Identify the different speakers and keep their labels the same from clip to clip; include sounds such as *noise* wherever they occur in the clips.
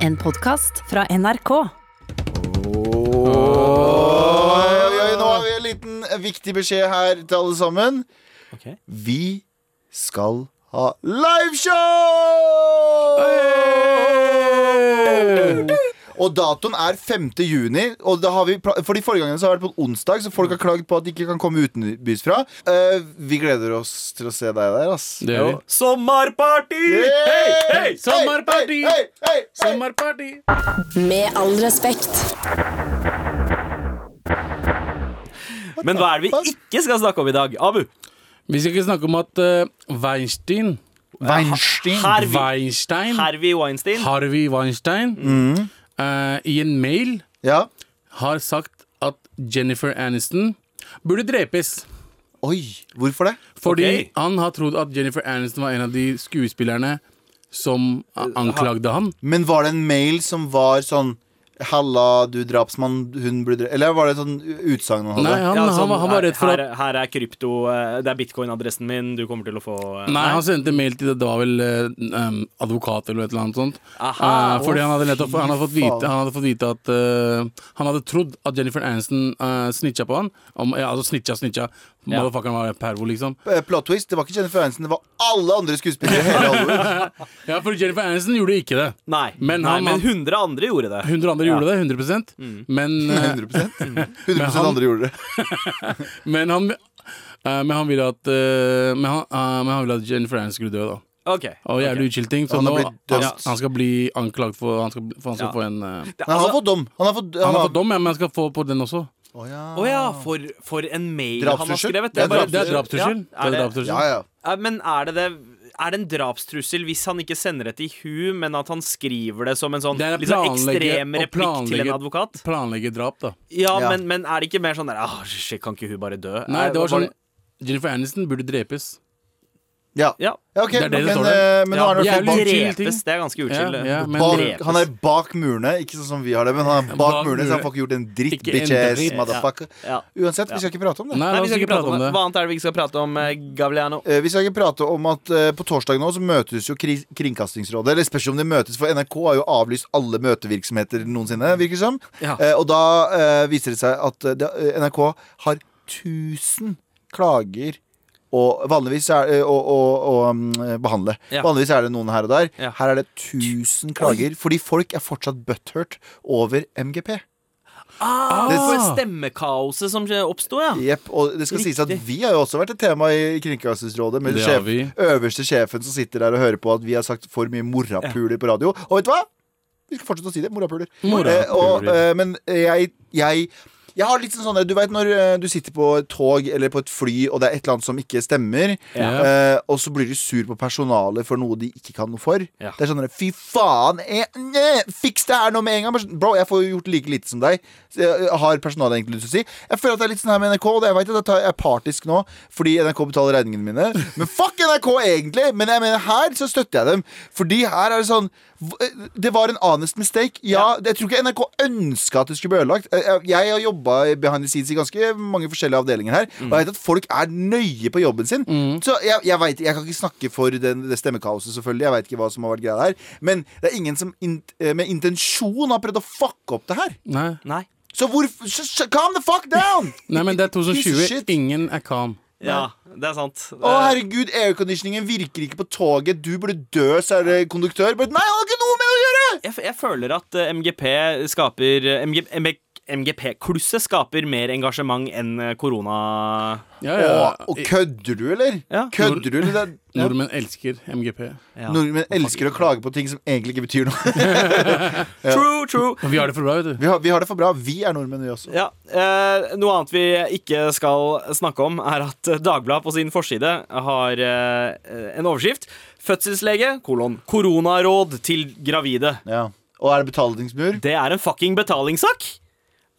Speaker 1: En podkast fra NRK.
Speaker 2: Oi, oi, nå har vi en liten eh, viktig beskjed her til alle sammen.
Speaker 3: Ok.
Speaker 2: Vi skal ha liveshow! Og datoen er 5. juni. Og da har vi, pla- for de forrige gangene så har det vært på en onsdag, så folk har klaget på at de ikke kan komme utenbys fra. Eh, vi gleder oss til å se deg der, ass.
Speaker 3: Det gjør vi.
Speaker 4: Sommerparty!
Speaker 2: Hei, hei,
Speaker 4: sommerparty!
Speaker 2: hei, hei, hei.
Speaker 4: Sommerparty!
Speaker 1: Med all respekt.
Speaker 4: Men hva er det vi ikke skal snakke om i dag? Abu,
Speaker 3: Vi skal ikke snakke om at eh, Weinstein
Speaker 2: Weinstein.
Speaker 4: Harvey.
Speaker 3: Weinstein
Speaker 4: Harvey Weinstein
Speaker 3: Harvey Weinstein eh, i en mail
Speaker 2: Ja.
Speaker 3: har sagt at Jennifer Aniston burde drepes.
Speaker 2: Oi, hvorfor det?
Speaker 3: Fordi
Speaker 4: Ok.
Speaker 3: han har trodd at Jennifer Aniston var en av de skuespillerne som a- anklagde han.
Speaker 2: Men var det en mail som var sånn Halla, du drapsmann, hun ble drept Eller var det et sånn utsagn han hadde?
Speaker 3: Nei, han,
Speaker 4: Ja,
Speaker 3: han,
Speaker 4: sånn,
Speaker 3: var- han var redd for
Speaker 4: her,
Speaker 3: at
Speaker 4: her, her er krypto eh, Det er bitcoin-adressen min, du kommer til å få eh,
Speaker 3: Nei, han sendte mail til det, det var vel eh, um, advokat eller et eller annet sånt.
Speaker 4: Aha,
Speaker 3: Eh, fordi han hadde, nettopp, han, hadde fått vite,
Speaker 2: faen.
Speaker 3: han hadde fått vite at eh, Han hadde trodd at Jennifer Aniston eh, snitcha på han. Om, ja, altså snitcha, snitcha.
Speaker 4: Ja.
Speaker 3: Motherfuckeren var en pervo, liksom.
Speaker 2: Eh, Plot twist, det var ikke Jennifer Aniston, det var alle andre skuespillere i hele Hollywood.
Speaker 3: *laughs* Ja, for Jennifer Aniston gjorde ikke det.
Speaker 4: Nei,
Speaker 3: Men
Speaker 4: men, nei, men
Speaker 3: han-
Speaker 4: 100 andre gjorde det
Speaker 3: 100 andre gjorde det, 100
Speaker 4: Mm.
Speaker 3: men,
Speaker 4: *laughs*
Speaker 3: eh,
Speaker 2: 100 100
Speaker 3: han-
Speaker 2: andre gjorde det.
Speaker 3: men han eh, Men han ville at eh, men, han, eh, men han ville at Jennifer Aniston skulle dø, da.
Speaker 4: Ok
Speaker 3: Og jævlig
Speaker 4: ok.
Speaker 3: uchill ting. Så
Speaker 2: Han
Speaker 3: nå
Speaker 2: har blitt dømt.
Speaker 3: han, han skal bli anklagd for Han skal, bli- for han skal
Speaker 4: Ja.
Speaker 3: få en eh,
Speaker 4: Det-
Speaker 2: Nei, han har
Speaker 4: altså-
Speaker 2: fått dom. Han har fått,
Speaker 3: Han har fått dom, ja, men han skal få på den også.
Speaker 2: Å ja.
Speaker 4: Å ja, for, for en mail han har
Speaker 2: Drapstrussel?
Speaker 4: skrevet.
Speaker 2: Det er
Speaker 4: bare-
Speaker 3: Det er drapstrussel.
Speaker 4: Ja, er
Speaker 3: det er
Speaker 4: det-
Speaker 3: drapstrussel.
Speaker 2: ja, ja.
Speaker 4: Ja, Eh, Men er det det er det en drapstrussel hvis han ikke sender det til hu, men at han skriver det som en sånn
Speaker 3: Det er å
Speaker 4: litt sånn
Speaker 3: planlegge-
Speaker 4: ekstrem
Speaker 3: å
Speaker 4: replikk til en
Speaker 3: planlegge-
Speaker 4: advokat?
Speaker 3: Planlegge drap, da.
Speaker 4: Ja,
Speaker 2: Ja.
Speaker 4: Men, men er det ikke mer sånn der ah, shit, Kan ikke hun bare dø?
Speaker 3: Nei,
Speaker 4: Er-
Speaker 3: det var sånn Jennifer Aniston burde drepes.
Speaker 2: ja.
Speaker 4: Ja.
Speaker 2: ja ok,
Speaker 3: Det er det det
Speaker 2: men,
Speaker 3: står
Speaker 2: eh,
Speaker 3: der.
Speaker 2: men nå
Speaker 4: ja,
Speaker 2: er han i hvert fall
Speaker 3: jævlig
Speaker 2: bak,
Speaker 3: chill ting.
Speaker 4: drepes, det er ganske uchill.
Speaker 3: Ja, ja, men-
Speaker 2: bak, han er bak murene, ikke sånn som vi har det, men han er bak,
Speaker 3: Bak
Speaker 2: murene, så han
Speaker 3: murene.
Speaker 2: får ikke gjort en dritt,
Speaker 3: Ikke en
Speaker 2: bitches,
Speaker 3: dritt.
Speaker 2: motherfucker.
Speaker 4: Ja.
Speaker 2: Uansett, vi skal ikke prate om det.
Speaker 3: Nei,
Speaker 4: Nei,
Speaker 3: la
Speaker 4: vi
Speaker 3: oss
Speaker 4: skal ikke prate om det.
Speaker 3: det.
Speaker 4: Hva annet er det vi ikke skal prate om, eh, Gavliano?
Speaker 2: Eh, Vi skal ikke prate om at eh, på torsdag nå så møtes jo kri- Kringkastingsrådet. Eller spørs om de møtes, for NRK har jo avlyst alle møtevirksomheter noensinne, virker det som.
Speaker 4: Ja.
Speaker 2: Eh, og da eh, viser det seg at eh, det- eh, NRK har 1000 klager og vanligvis er, eh, å, å, å mm, eh, behandle.
Speaker 4: Ja.
Speaker 2: Vanligvis er det noen her og der.
Speaker 4: Ja.
Speaker 2: Her er det 1000 klager. Fordi folk er fortsatt butthurt over MGP.
Speaker 4: Ah,
Speaker 2: det-
Speaker 4: for stemmekaoset som oppsto, ja.
Speaker 2: Jepp, og det skal sies at
Speaker 4: Riktig.
Speaker 2: Vi har jo også vært et tema i Kringkastingsrådet, med
Speaker 3: Det har
Speaker 2: sjef,
Speaker 3: vi.
Speaker 2: øverste sjefen som sitter der og hører på at vi har sagt for mye morapuler på radio. Og vet du hva? Vi skal fortsette å si det. Morapuler.
Speaker 3: Morapuler.
Speaker 2: Eh, og, eh, men jeg, jeg jeg har litt sånn sånn, Du vet når eh, du sitter på et tog eller på et fly, og det er et eller annet som ikke stemmer,
Speaker 3: Ja.
Speaker 2: eh, og så blir du sur på personalet for noe de ikke kan noe for.
Speaker 4: Ja.
Speaker 2: Det er sånn der, Fy faen! Jeg, ne, fiks det her nå med en gang! Bare sånn, Bro, jeg får jo gjort like lite som deg. Så jeg, jeg har personalet egentlig lyst til å si. Jeg føler at det er litt sånn her med NRK, og det, jeg vet at jeg tar- jeg er partisk nå fordi NRK betaler regningene mine. Men fuck NRK, egentlig! Men jeg mener, her så støtter jeg dem. Fordi her er det sånn v- Det var en honest mistake. Ja, Jeg tror ikke NRK ønska at det skulle bli ødelagt. Jeg- jeg- Jeg har jobba behind the scenes i ganske mange forskjellige avdelinger her, og jeg vet at folk er nøye på jobben sin. Så jeg, jeg vet, jeg kan ikke snakke for den, det stemmekaoset, selvfølgelig. Jeg vet ikke hva som har vært greia her. Men det er ingen som in, eh, med intensjon har prøvd å fucke opp det her.
Speaker 3: Nei.
Speaker 4: Nei.
Speaker 2: Så hvorfor så- så- Calm the fuck down!
Speaker 3: Nei, men det er
Speaker 2: Piece of shit.
Speaker 3: 2020. Ingen er calm.
Speaker 4: Ja, det er sant.
Speaker 2: Å, herregud, airconditioningen virker ikke på toget. Du burde dø, sa det konduktør. Bare, Nei, han har ikke noe med det å gjøre!
Speaker 4: jeg, jeg føler at eh, MGP skaper eh, MG, MGP-klusset skaper mer engasjement enn eh, korona...
Speaker 3: Ja, ja.
Speaker 2: Å, og kødder du, eller?
Speaker 4: Ja.
Speaker 2: Kødder du, eller? Det er- Ja.
Speaker 3: Nordmenn elsker MGP.
Speaker 4: Ja.
Speaker 2: Nordmenn elsker å klage på ting som egentlig ikke betyr noe. *laughs*
Speaker 4: True, true.
Speaker 3: Vi har det for bra, vet du.
Speaker 2: Vi har, vi har det for bra. Vi er nordmenn, vi også.
Speaker 4: Ja, eh, Noe annet vi ikke skal snakke om, er at Dagbladet på sin forside har eh, en overskrift. Fødselslege, kolon, koronaråd til gravide.
Speaker 2: Ja. Og er det betalingsmur?
Speaker 4: Det er en fucking betalingssak!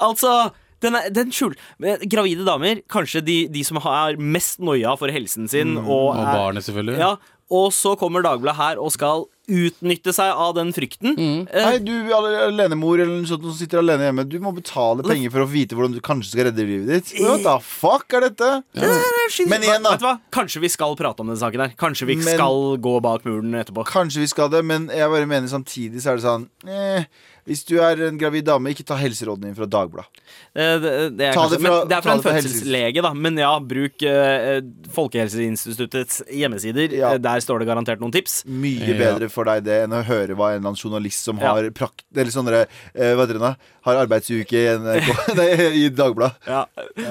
Speaker 4: Altså den, er, den skjul... men Gravide damer, kanskje de, de som har mest noia for helsen sin og,
Speaker 3: Og
Speaker 4: er,
Speaker 3: barnet, selvfølgelig.
Speaker 4: Ja, og så kommer Dagbladet her og skal utnytte seg av den frykten. Eh,
Speaker 2: Nei, du alle- alenemor eller noe sånt som sitter alene hjemme, du må betale penger for å vite hvordan du kanskje skal redde livet ditt.
Speaker 3: Eh.
Speaker 2: What the fuck er dette? Mm. Men igjen,
Speaker 4: Vet du
Speaker 2: da.
Speaker 4: hva? Kanskje vi skal prate om den saken her. Kanskje vi
Speaker 2: Men-
Speaker 4: skal gå bak muren etterpå.
Speaker 2: Kanskje vi skal det, men jeg bare mener samtidig så er det sånn eh, Hvis du er en gravid dame, ikke ta helserådene dine fra Dagbladet.
Speaker 4: Eh, Det, det, er
Speaker 2: Ta
Speaker 4: kanskje,
Speaker 2: det fra-
Speaker 4: men det er fra
Speaker 2: ta
Speaker 4: en
Speaker 2: det fra
Speaker 4: fødselslege, da. Men ja, bruk eh, eh, Folkehelseinstituttets hjemmesider.
Speaker 2: Ja.
Speaker 4: Eh, Der står det garantert noen tips.
Speaker 2: Mye
Speaker 3: Ja.
Speaker 2: bedre for deg det enn å høre hva en eller annen journalist som
Speaker 4: Ja.
Speaker 2: har prakt... Eller sånne, eh, hva heter det nå? Har arbeidsuke i, NRK, *laughs* nei, i Dagbladet.
Speaker 4: Ja.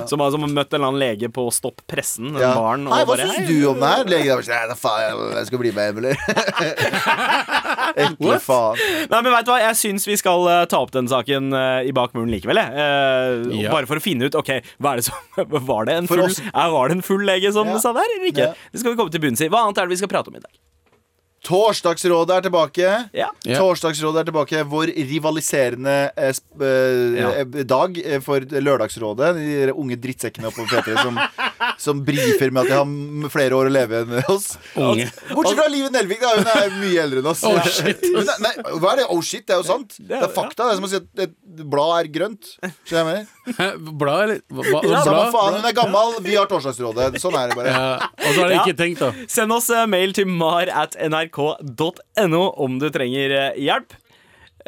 Speaker 4: Som har som har møtt en eller annen lege på Stopp pressen. En
Speaker 2: Ja.
Speaker 4: barn, og
Speaker 2: Nei, hva
Speaker 4: bare,
Speaker 2: syns
Speaker 4: «Hei,
Speaker 2: du om det her? Legen er bare sånn Nei, da faen, jeg skal bli med, Emil. *laughs* Ekle faen.
Speaker 4: Nei, men vet du hva? Jeg syns vi skal eh, ta opp den saken eh, i bakmuren likevel. jeg. Eh,
Speaker 3: Ja.
Speaker 4: Bare for å finne ut ok, hva er det som, *laughs* var, det en
Speaker 2: For
Speaker 4: full,
Speaker 2: oss-
Speaker 4: ja, var det en full lege som
Speaker 2: Ja.
Speaker 4: sa det her, eller ikke?
Speaker 2: Ja.
Speaker 4: Det skal vi komme til bunns i. Hva annet er det vi skal prate om i dag?
Speaker 2: Torsdagsrådet er tilbake.
Speaker 4: Ja.
Speaker 3: Ja.
Speaker 2: Torsdagsrådet er tilbake. Vår rivaliserende eh, sp eh,
Speaker 4: Ja.
Speaker 2: eh, dag eh, for Lørdagsrådet. De unge drittsekkene oppe på P3 som, som brifer med at de har m- flere år å leve enn oss.
Speaker 3: Unge.
Speaker 2: Bortsett fra Live Nelvik, da. Hun er mye eldre enn oss.
Speaker 3: Oh, shit,
Speaker 2: Hun er- nei, hva er det? Oh shit, det er jo sant.
Speaker 4: Det
Speaker 2: Det
Speaker 4: er-
Speaker 2: er fakta. Det er som å si at et blad er grønt. Skjønner du hva jeg mener?
Speaker 3: Hæ, *laughs* Blad, eller? Hva, hva,
Speaker 2: Samme
Speaker 3: blad?
Speaker 2: faen, hun er gammel. Vi har Torsdagsrådet. Sånn er det bare.
Speaker 3: Ja, og så har jeg ikke tenkt, da.
Speaker 4: Send oss eh, mail til mar at nrk.no om du trenger eh, hjelp.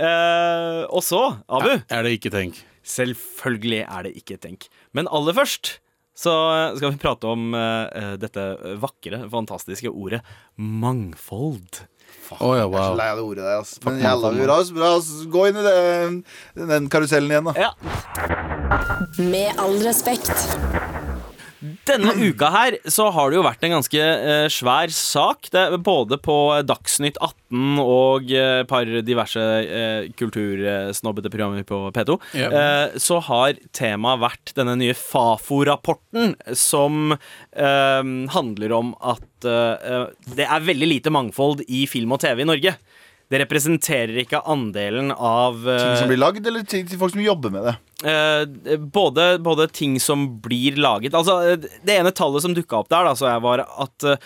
Speaker 4: Eh, og så, Abu
Speaker 3: Er det ikke tenk?
Speaker 4: Selvfølgelig er det ikke tenk. Men aller først så eh, skal vi prate om eh, eh, dette vakre, fantastiske ordet mangfold.
Speaker 3: Å ja,
Speaker 2: Jeg er så
Speaker 3: wow.
Speaker 2: lei av det ordet der, ass. Men jævla bra, ass. bra, ass. Gå inn i den, den karusellen igjen, da.
Speaker 4: Ja,
Speaker 1: Med all respekt.
Speaker 4: Denne uka her så har det jo vært en ganske eh, svær sak. Det, er både på eh, Dagsnytt 18 og eh, et par diverse eh, kultursnobbete programmer på P2.
Speaker 3: Ja.
Speaker 4: eh, så har temaet vært denne nye Fafo-rapporten som eh, handler om at eh, det er veldig lite mangfold i film og TV i Norge. Det representerer ikke andelen av eh,
Speaker 2: Ting som blir lagd, eller ting til folk som jobber med det?
Speaker 4: Eh, både, både ting som blir laget Altså, eh, Det ene tallet som dukka opp der, da, så jeg var at eh,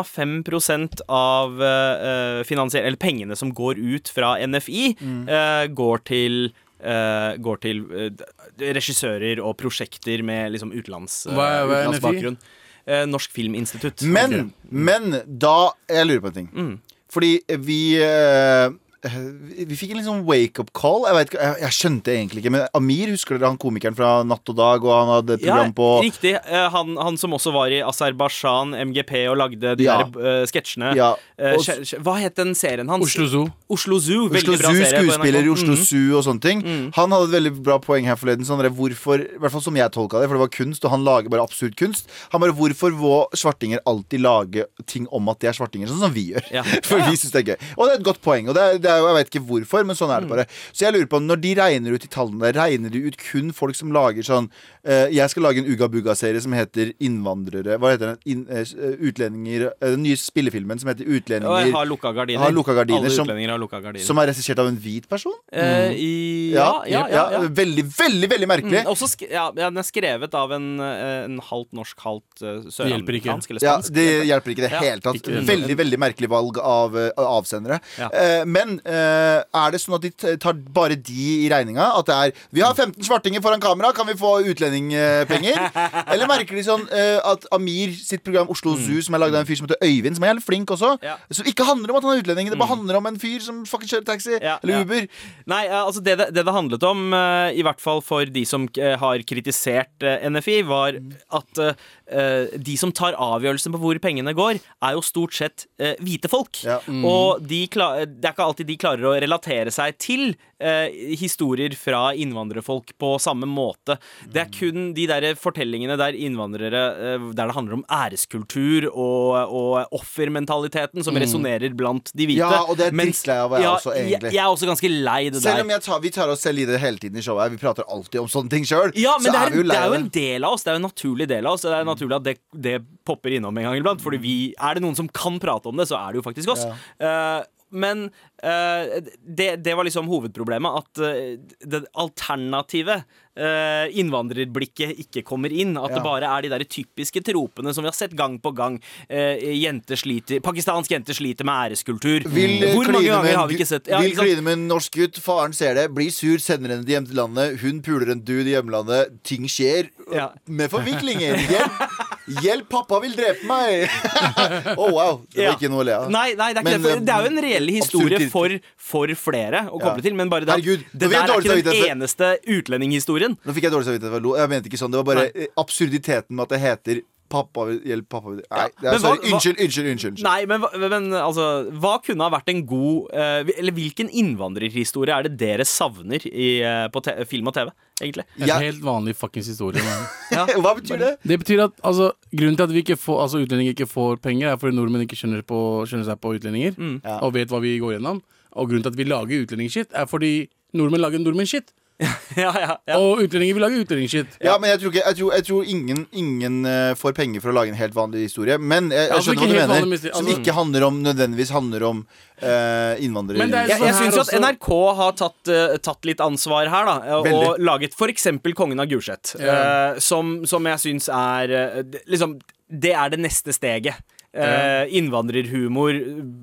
Speaker 4: 0,5 av eh, eh, finansier- eller pengene som går ut fra NFI,
Speaker 2: Mm.
Speaker 4: eh, går til eh, går til eh, d- regissører og prosjekter med liksom utenlands, eh,
Speaker 3: Hva er- hva er NFI?
Speaker 4: utenlandsbakgrunn. Eh, Norsk Filminstitutt.
Speaker 2: Men,
Speaker 3: Ok.
Speaker 2: men da Jeg lurer på en ting.
Speaker 4: Mm.
Speaker 2: Fordi vi eh, vi vi fikk en litt sånn wake-up call. Jeg, vet, ikke- jeg, jeg skjønte egentlig ikke, men Amir, husker dere han komikeren fra Natt og Dag? Og han hadde et
Speaker 4: Ja,
Speaker 2: program på
Speaker 4: riktig. Eh, Han, han som også var i Aserbajdsjan, MGP, og lagde de
Speaker 2: Ja.
Speaker 4: der eh, sketsjene.
Speaker 2: ja,
Speaker 4: Eh,
Speaker 2: og,
Speaker 4: kje- kje- hva het den serien hans?
Speaker 3: Oslo Zoo.
Speaker 4: Oslo Zoo.
Speaker 2: Oslo
Speaker 4: Veldig bra
Speaker 2: Zoo,
Speaker 4: serie på NRK.
Speaker 2: skuespiller i Oslo
Speaker 4: Mhm.
Speaker 2: Zoo og sånne ting. Han hadde et veldig bra poeng her forleden. Sånn der, hvorfor, i hvert fall som jeg tolka det, for det var kunst, og han lager bare absurd kunst. Han bare, Hvorfor må svartinger alltid lage ting om at de er svartinger, sånn som vi gjør? *laughs*
Speaker 4: Ja.
Speaker 2: For vi syns det er gøy. Og det er et godt poeng. Og det er, det er, jo- jeg vet ikke hvorfor, men sånn er det
Speaker 4: Mhm.
Speaker 2: bare. Så jeg lurer på, når de regner ut de tallene der, regner de ut kun folk som lager sånn eh, Jeg skal lage en Uga Buga-serie som heter Innvandrere Hva heter den? In, eh, utlendinger eh, Den nye spillefilmen som heter
Speaker 4: Og jeg har
Speaker 2: Utlendinger.
Speaker 4: lukka gardiner.
Speaker 2: Har lukka gardiner,
Speaker 4: Alle
Speaker 2: som-
Speaker 4: utlendinger har lukka gardiner.
Speaker 2: Som Mm. er regissert av en hvit person?
Speaker 4: Eh, i, ja, ja, ja, ja.
Speaker 2: Veldig, veldig veldig merkelig.
Speaker 4: Mm, Også sk ja, ja, den er skrevet av en, eh, en halvt norsk, halvt eh,
Speaker 3: hjelper ikke.
Speaker 4: søramerikansk eller
Speaker 2: Ja,
Speaker 4: spansk.
Speaker 2: Det hjelper ikke i det
Speaker 4: Ja,
Speaker 2: hele tatt.
Speaker 3: ikke det.
Speaker 2: Veldig veldig merkelig valg av eh, av avsendere.
Speaker 4: Ja.
Speaker 2: Eh, men eh, er det sånn at de t- tar bare de i regninga? At det er Vi har 15 svartinger foran kamera, kan vi få utlendingpenger?
Speaker 4: *laughs*
Speaker 2: Eller merker de sånn eh, at Amir sitt program Oslo Zoo, som er lagd av en fyr som heter Øyvind, som er jævlig flink også,
Speaker 4: Mm. Ja. Mm.
Speaker 2: som ikke handler om at han er utlending, det bare handler om en fyr som fucking kjører taxi
Speaker 4: Ja, ja.
Speaker 2: eller Uber.
Speaker 4: Nei, eh, altså det, det det det handlet om, eh, i hvert fall for de som eh, har kritisert eh, NFI, var
Speaker 2: Mm.
Speaker 4: at eh, eh, de som tar avgjørelsen på hvor pengene går, er jo stort sett eh, hvite folk.
Speaker 2: Ja.
Speaker 4: Og de kla- eh, det er ikke alltid de klarer å relatere seg til eh, historier fra innvandrerfolk på samme måte.
Speaker 2: Mm.
Speaker 4: Det er kun de der fortellingene der innvandrere eh, Der det handler om æreskultur og, og offermentaliteten som resonnerer blant de hvite.
Speaker 2: Mm. Ja, og det er
Speaker 4: Mens-
Speaker 2: drittlei av hva jeg
Speaker 4: ja,
Speaker 2: også egentlig.
Speaker 4: Jeg, jeg er også ganske lei det
Speaker 2: Selv
Speaker 4: der.
Speaker 2: om jeg tar, vi tar oss selv i det hele tiden i showet, her, vi prater alltid om sånne ting sjøl,
Speaker 4: Ja, men
Speaker 2: så
Speaker 4: det er,
Speaker 2: er vi jo
Speaker 4: det
Speaker 2: lei
Speaker 4: er
Speaker 2: av
Speaker 4: jo
Speaker 2: det.
Speaker 4: en del av oss. Det er jo en naturlig del av oss. Det er naturlig at det, det popper innom en gang iblant. Fordi vi, er det noen som kan prate om det, så er det jo faktisk oss. Eh, men eh, det, det var liksom hovedproblemet. At eh, det alternative eh, innvandrerblikket ikke kommer inn. At
Speaker 2: Ja.
Speaker 4: det bare er de der typiske tropene som vi har sett gang på gang. Eh, jenter sliter, Pakistansk jenter sliter med æreskultur.
Speaker 2: Vil eh,
Speaker 4: Mm. Hvor mange
Speaker 2: kline med
Speaker 4: ganger
Speaker 2: en
Speaker 4: har vi
Speaker 2: gu-
Speaker 4: ikke sett ja,
Speaker 2: Vil
Speaker 4: ikke sant?
Speaker 2: kline med en norsk gutt, faren ser det, blir sur, sender henne hjem til hjemlandet, hun puler en dude i hjemlandet, ting skjer.
Speaker 4: Ja.
Speaker 2: Med forviklinger. Hjelp! Hjelp, pappa vil drepe meg! *laughs* Å, wow. Det var
Speaker 4: Ja.
Speaker 2: ikke noe å le av.
Speaker 4: Nei, nei, det er ikke
Speaker 2: Men, um,
Speaker 4: det. For det er jo en reell historie
Speaker 2: absolutt ikke.
Speaker 4: for, for flere å
Speaker 2: Ja.
Speaker 4: koble til, men bare det, at
Speaker 2: Herregud, nå
Speaker 4: det
Speaker 2: fikk jeg
Speaker 4: der er
Speaker 2: dårlig
Speaker 4: ikke den
Speaker 2: samvittighet for-
Speaker 4: eneste utlendinghistorien.
Speaker 2: Nå fikk jeg dårlig samvittighet for at jeg lo. Jeg mente ikke sånn. Det var bare eh, absurditeten med at det heter pappa vil hjelp, pappa vil Nei, det
Speaker 4: men
Speaker 2: er,
Speaker 4: hva-
Speaker 2: sorry. Unnskyld, unnskyld, unnskyld. unnskyld.
Speaker 4: Nei, men, hva- men altså Hva kunne ha vært en god eh, Eller hvilken innvandrerhistorie er det dere savner i, eh, på te film og TV, egentlig?
Speaker 3: En
Speaker 2: Ja.
Speaker 3: helt vanlig fuckings historie. Man.
Speaker 2: *laughs* Hva betyr det?
Speaker 3: Det betyr at altså, Grunnen til at vi ikke får, altså, utlendinger ikke får penger, er fordi nordmenn ikke skjønner, på, skjønner seg på utlendinger
Speaker 4: Mm.
Speaker 2: Ja.
Speaker 3: og vet hva vi går gjennom. Og grunnen til at vi lager utlendingshit, er fordi nordmenn lager nordmennshit.
Speaker 4: *laughs* Ja, ja, ja.
Speaker 3: Og utlendinger vil lage utlendingshit.
Speaker 2: Ja, men jeg tror, ikke, jeg tror, jeg tror ingen, ingen eh, får penger for å lage en helt vanlig historie. Men jeg, jeg
Speaker 3: Altså, ikke
Speaker 2: skjønner hva
Speaker 3: helt
Speaker 2: du
Speaker 3: vanlig
Speaker 2: mener.
Speaker 3: mysterie,
Speaker 2: Som
Speaker 3: altså-
Speaker 2: ikke handler om, nødvendigvis handler om eh, innvandrere.
Speaker 3: Men det er
Speaker 4: Jeg, jeg
Speaker 3: sånn her
Speaker 4: syns jo at
Speaker 3: også-
Speaker 4: NRK har tatt, eh, tatt litt ansvar her, da. eh,
Speaker 2: Veldig.
Speaker 4: Og laget f.eks. Kongen av Gulset,
Speaker 3: Ja.
Speaker 4: eh, som, som jeg syns er eh, d- Liksom, det er det neste steget. Eh, innvandrerhumor.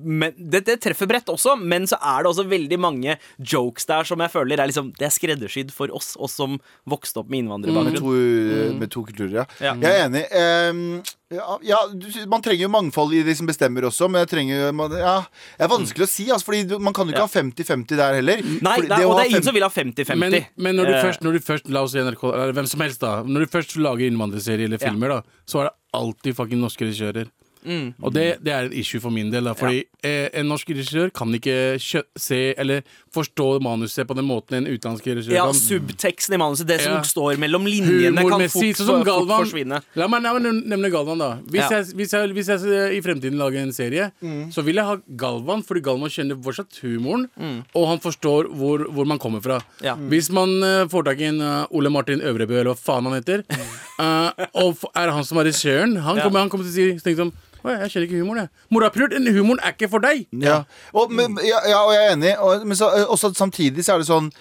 Speaker 4: Men, det, det treffer bredt også, men så er det også veldig mange jokes der som jeg føler er liksom Det er skreddersydd for oss, oss som vokste opp med
Speaker 2: med
Speaker 3: Mm.
Speaker 4: innvandrerbakgrunn.
Speaker 2: to, eh, med to kulturer, ja.
Speaker 4: Ja.
Speaker 2: Jeg er enig. Ehm, ja, ja, du- man trenger jo mangfold i de som bestemmer også, men jeg trenger jo- man, ja, Det er vanskelig å si, altså, Fordi du- man kan jo ikke ha
Speaker 4: Ja.
Speaker 2: 50-50 der heller.
Speaker 4: Nei,
Speaker 2: Fordi
Speaker 4: nei,
Speaker 2: å
Speaker 4: og
Speaker 2: ha
Speaker 4: det er ingen
Speaker 2: 50
Speaker 4: som vil ha 50-50.
Speaker 3: Men, men når, du
Speaker 4: Eh,
Speaker 3: først, når du først La oss si NRK, eller hvem som helst da Når du først lager innvandrerserie eller
Speaker 4: Ja.
Speaker 3: filmer da Så er det alltid fucking norske regissører
Speaker 4: Mm.
Speaker 3: Og det, det er et issue for min del da Fordi eh, en norsk regissør kan ikke kjø se Eller forstå manuset på den måten En utenlandsk regissør
Speaker 4: ja,
Speaker 3: kan
Speaker 4: subteksten i manuset, det som
Speaker 3: Ja.
Speaker 4: står mellom linjene, kan
Speaker 3: Humormessig,
Speaker 4: fort,
Speaker 3: sånn som
Speaker 4: fort, fort
Speaker 3: Galvan
Speaker 4: forsvinne.
Speaker 3: La meg la meg nevne nevne Galvan da Hvis,
Speaker 4: Ja. Mm.
Speaker 3: jeg, hvis, jeg, hvis jeg eh, i fremtiden lager en serie Så vil jeg ha Galvan Fordi Galvan kjenner fortsatt humoren Og han forstår hvor, hvor man kommer fra
Speaker 4: Mm. Ja.
Speaker 3: Hvis man eh, får tak i en eh, Ole Martin Øvrebø Eller hva faen han heter *laughs* eh, Og f- er han som er regissøren han,
Speaker 4: Mm. Ja.
Speaker 3: kommer- han kommer til å si tenke sånn «Å, jeg skjønner ikke humoren jeg Morapulert, den humoren er ikke for deg
Speaker 2: Ja, og, men, ja, ja, og jeg er enig. Og, men så, eh, også at samtidig så er det sånn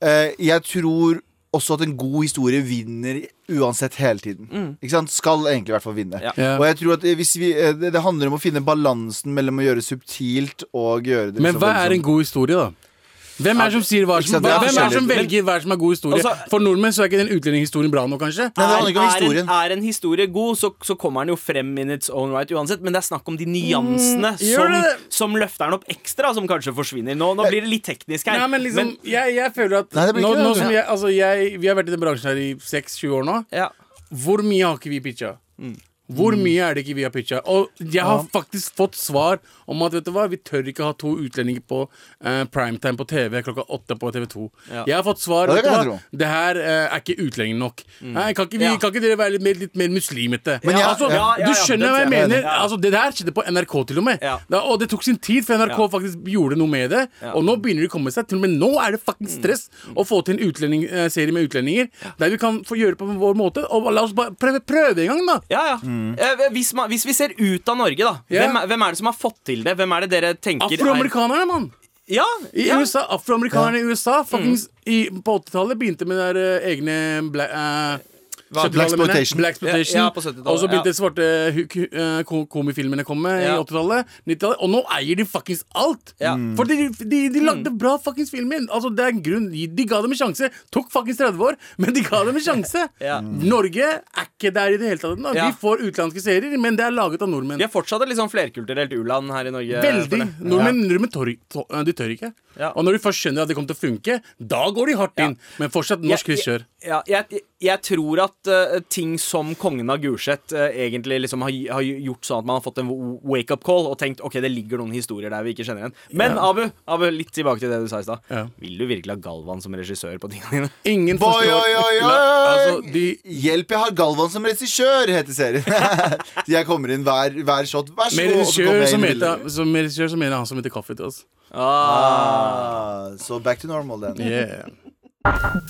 Speaker 2: eh, Jeg tror også at en god historie vinner uansett hele tiden. Ikke sant? Skal egentlig i hvert fall vinne.
Speaker 4: Ja.
Speaker 3: Ja.
Speaker 2: Og jeg tror at hvis vi, eh, det, det handler om å finne balansen mellom å gjøre subtilt og gjøre det liksom sånn
Speaker 3: Men hva er en god historie, da? Hvem er det som sier hva
Speaker 2: ikke
Speaker 3: som,
Speaker 2: sant, det
Speaker 3: hva,
Speaker 2: er
Speaker 3: hvem er det som
Speaker 2: forskjellig.
Speaker 3: velger hva som er god historie?
Speaker 4: Altså-
Speaker 3: For nordmenn så er ikke den utlendingshistorien bra nok, kanskje?
Speaker 2: Nei, det handler ikke om
Speaker 4: er,
Speaker 2: historien.
Speaker 4: en, er en historie god, så, så kommer den jo frem in its own right uansett. Men det er snakk om de nyansene
Speaker 3: Mm, gjør
Speaker 4: som,
Speaker 3: det?
Speaker 4: som løfter den opp ekstra, som kanskje forsvinner. Nå, nå blir det litt teknisk her.
Speaker 3: Nei, men liksom, jeg, jeg føler at
Speaker 2: Nei, det blir
Speaker 3: nå,
Speaker 2: ikke det,
Speaker 3: nå
Speaker 2: altså.
Speaker 3: som jeg, altså, jeg, Vi har vært i den bransjen her i 6-7 år nå.
Speaker 4: ja.
Speaker 3: Hvor mye har ikke vi pitcha?
Speaker 2: Mm.
Speaker 3: Hvor mye er det ikke vi har pitcha? Og jeg har faktisk fått svar om at vet du hva, vi tør ikke ha to utlendinger på eh, primetime på TV klokka åtte på TV2.
Speaker 4: Ja.
Speaker 3: Jeg har fått svar
Speaker 2: Ja, det
Speaker 3: vet du
Speaker 2: kan jeg
Speaker 3: hva,
Speaker 2: tro. Mm.
Speaker 3: det her eh, er ikke utlending nok. Nei, kan, ikke vi,
Speaker 4: Ja.
Speaker 3: kan ikke dere være litt mer, litt mer muslimete?
Speaker 2: Men jeg-
Speaker 3: altså,
Speaker 2: ja,
Speaker 4: ja, ja,
Speaker 3: du skjønner
Speaker 4: den
Speaker 3: hva
Speaker 4: ser jeg.
Speaker 3: jeg mener?
Speaker 4: Ja.
Speaker 3: Altså, det der skjedde på NRK til og med.
Speaker 4: Ja.
Speaker 3: Da, og det tok sin tid før NRK
Speaker 4: Ja.
Speaker 3: faktisk gjorde noe med det.
Speaker 4: Ja. Mm.
Speaker 3: Og nå begynner de å komme seg. Til og med nå er det fucking stress å få til en utlending, eh, serie med utlendinger der vi kan få gjøre det på vår måte. Og la oss bare prøve, prøve en gang, da.
Speaker 4: Ja, ja.
Speaker 2: Mm.
Speaker 4: Eh, hvis, man, hvis vi ser ut av Norge, da.
Speaker 3: Ja.
Speaker 4: Hvem, er- hvem er det som har fått til det? Hvem er det dere tenker er
Speaker 3: Afroamerikanerne, mann!
Speaker 4: ja,
Speaker 3: I
Speaker 4: ja. Mm.
Speaker 3: USA, Afroamerikanerne i USA fuckings, i, på 80-tallet begynte med der, eh, egne bla, eh, 70-tallet, mener jeg.
Speaker 2: Blaxploitation.
Speaker 3: Blaxploitation.
Speaker 4: Ja, ja, på 70-tallet,
Speaker 3: og så begynte
Speaker 4: ja.
Speaker 3: svarte hu- ku- eh, ko- komifilmene å komme i
Speaker 4: Ja.
Speaker 3: 80-tallet. 90-tallet Og nå eier de fuckings alt! Mm.
Speaker 4: Ja. Mm.
Speaker 3: For de, de, de lagde bra fuckings filmer. Altså, det er en grunn De de ga dem en sjanse. Tok fuckings 30 år, men de ga dem en sjanse.
Speaker 4: Ja.
Speaker 3: Norge er ikke der i det hele tatt. nå.
Speaker 4: Ja.
Speaker 3: Vi får utenlandske serier, men det er laget av nordmenn.
Speaker 4: Vi er fortsatt et litt sånn flerkulturelt u-land her i Norge.
Speaker 3: Veldig.
Speaker 4: føler jeg.
Speaker 3: Nordmenn, nordmenn tør, tør, de tør ikke.
Speaker 4: Ja.
Speaker 3: Og når de først skjønner at det kommer til å funke, da går de hardt inn. Men fortsatt norsk regissør.
Speaker 4: Ja, jeg, jeg tror at eh, ting som Kongen av Gulset eh, egentlig liksom har, har gjort sånn at man har fått en wake-up call og tenkt ok, det ligger noen historier der vi ikke kjenner igjen. Men Abu, Abu, litt tilbake til det du sa i stad.
Speaker 3: Ja.
Speaker 4: Vil du virkelig ha Galvan som regissør på tingene dine?
Speaker 3: Ingen
Speaker 2: Boy,
Speaker 3: forstår
Speaker 2: oi, oi, oi!
Speaker 3: La- altså, de,
Speaker 2: Hjelp, jeg har Galvan som regissør, heter
Speaker 3: *laughs*
Speaker 2: serien. Så jeg kommer inn hver, hver shot. Vær så
Speaker 3: Med
Speaker 2: god. og så kommer
Speaker 3: regissør
Speaker 2: jeg
Speaker 3: så
Speaker 2: inn i
Speaker 3: mener
Speaker 2: bildet.
Speaker 3: jeg- så med regissør så mener jeg han som heter Kaffe til oss.
Speaker 2: Ah, Så back to normal, then.
Speaker 3: Yeah.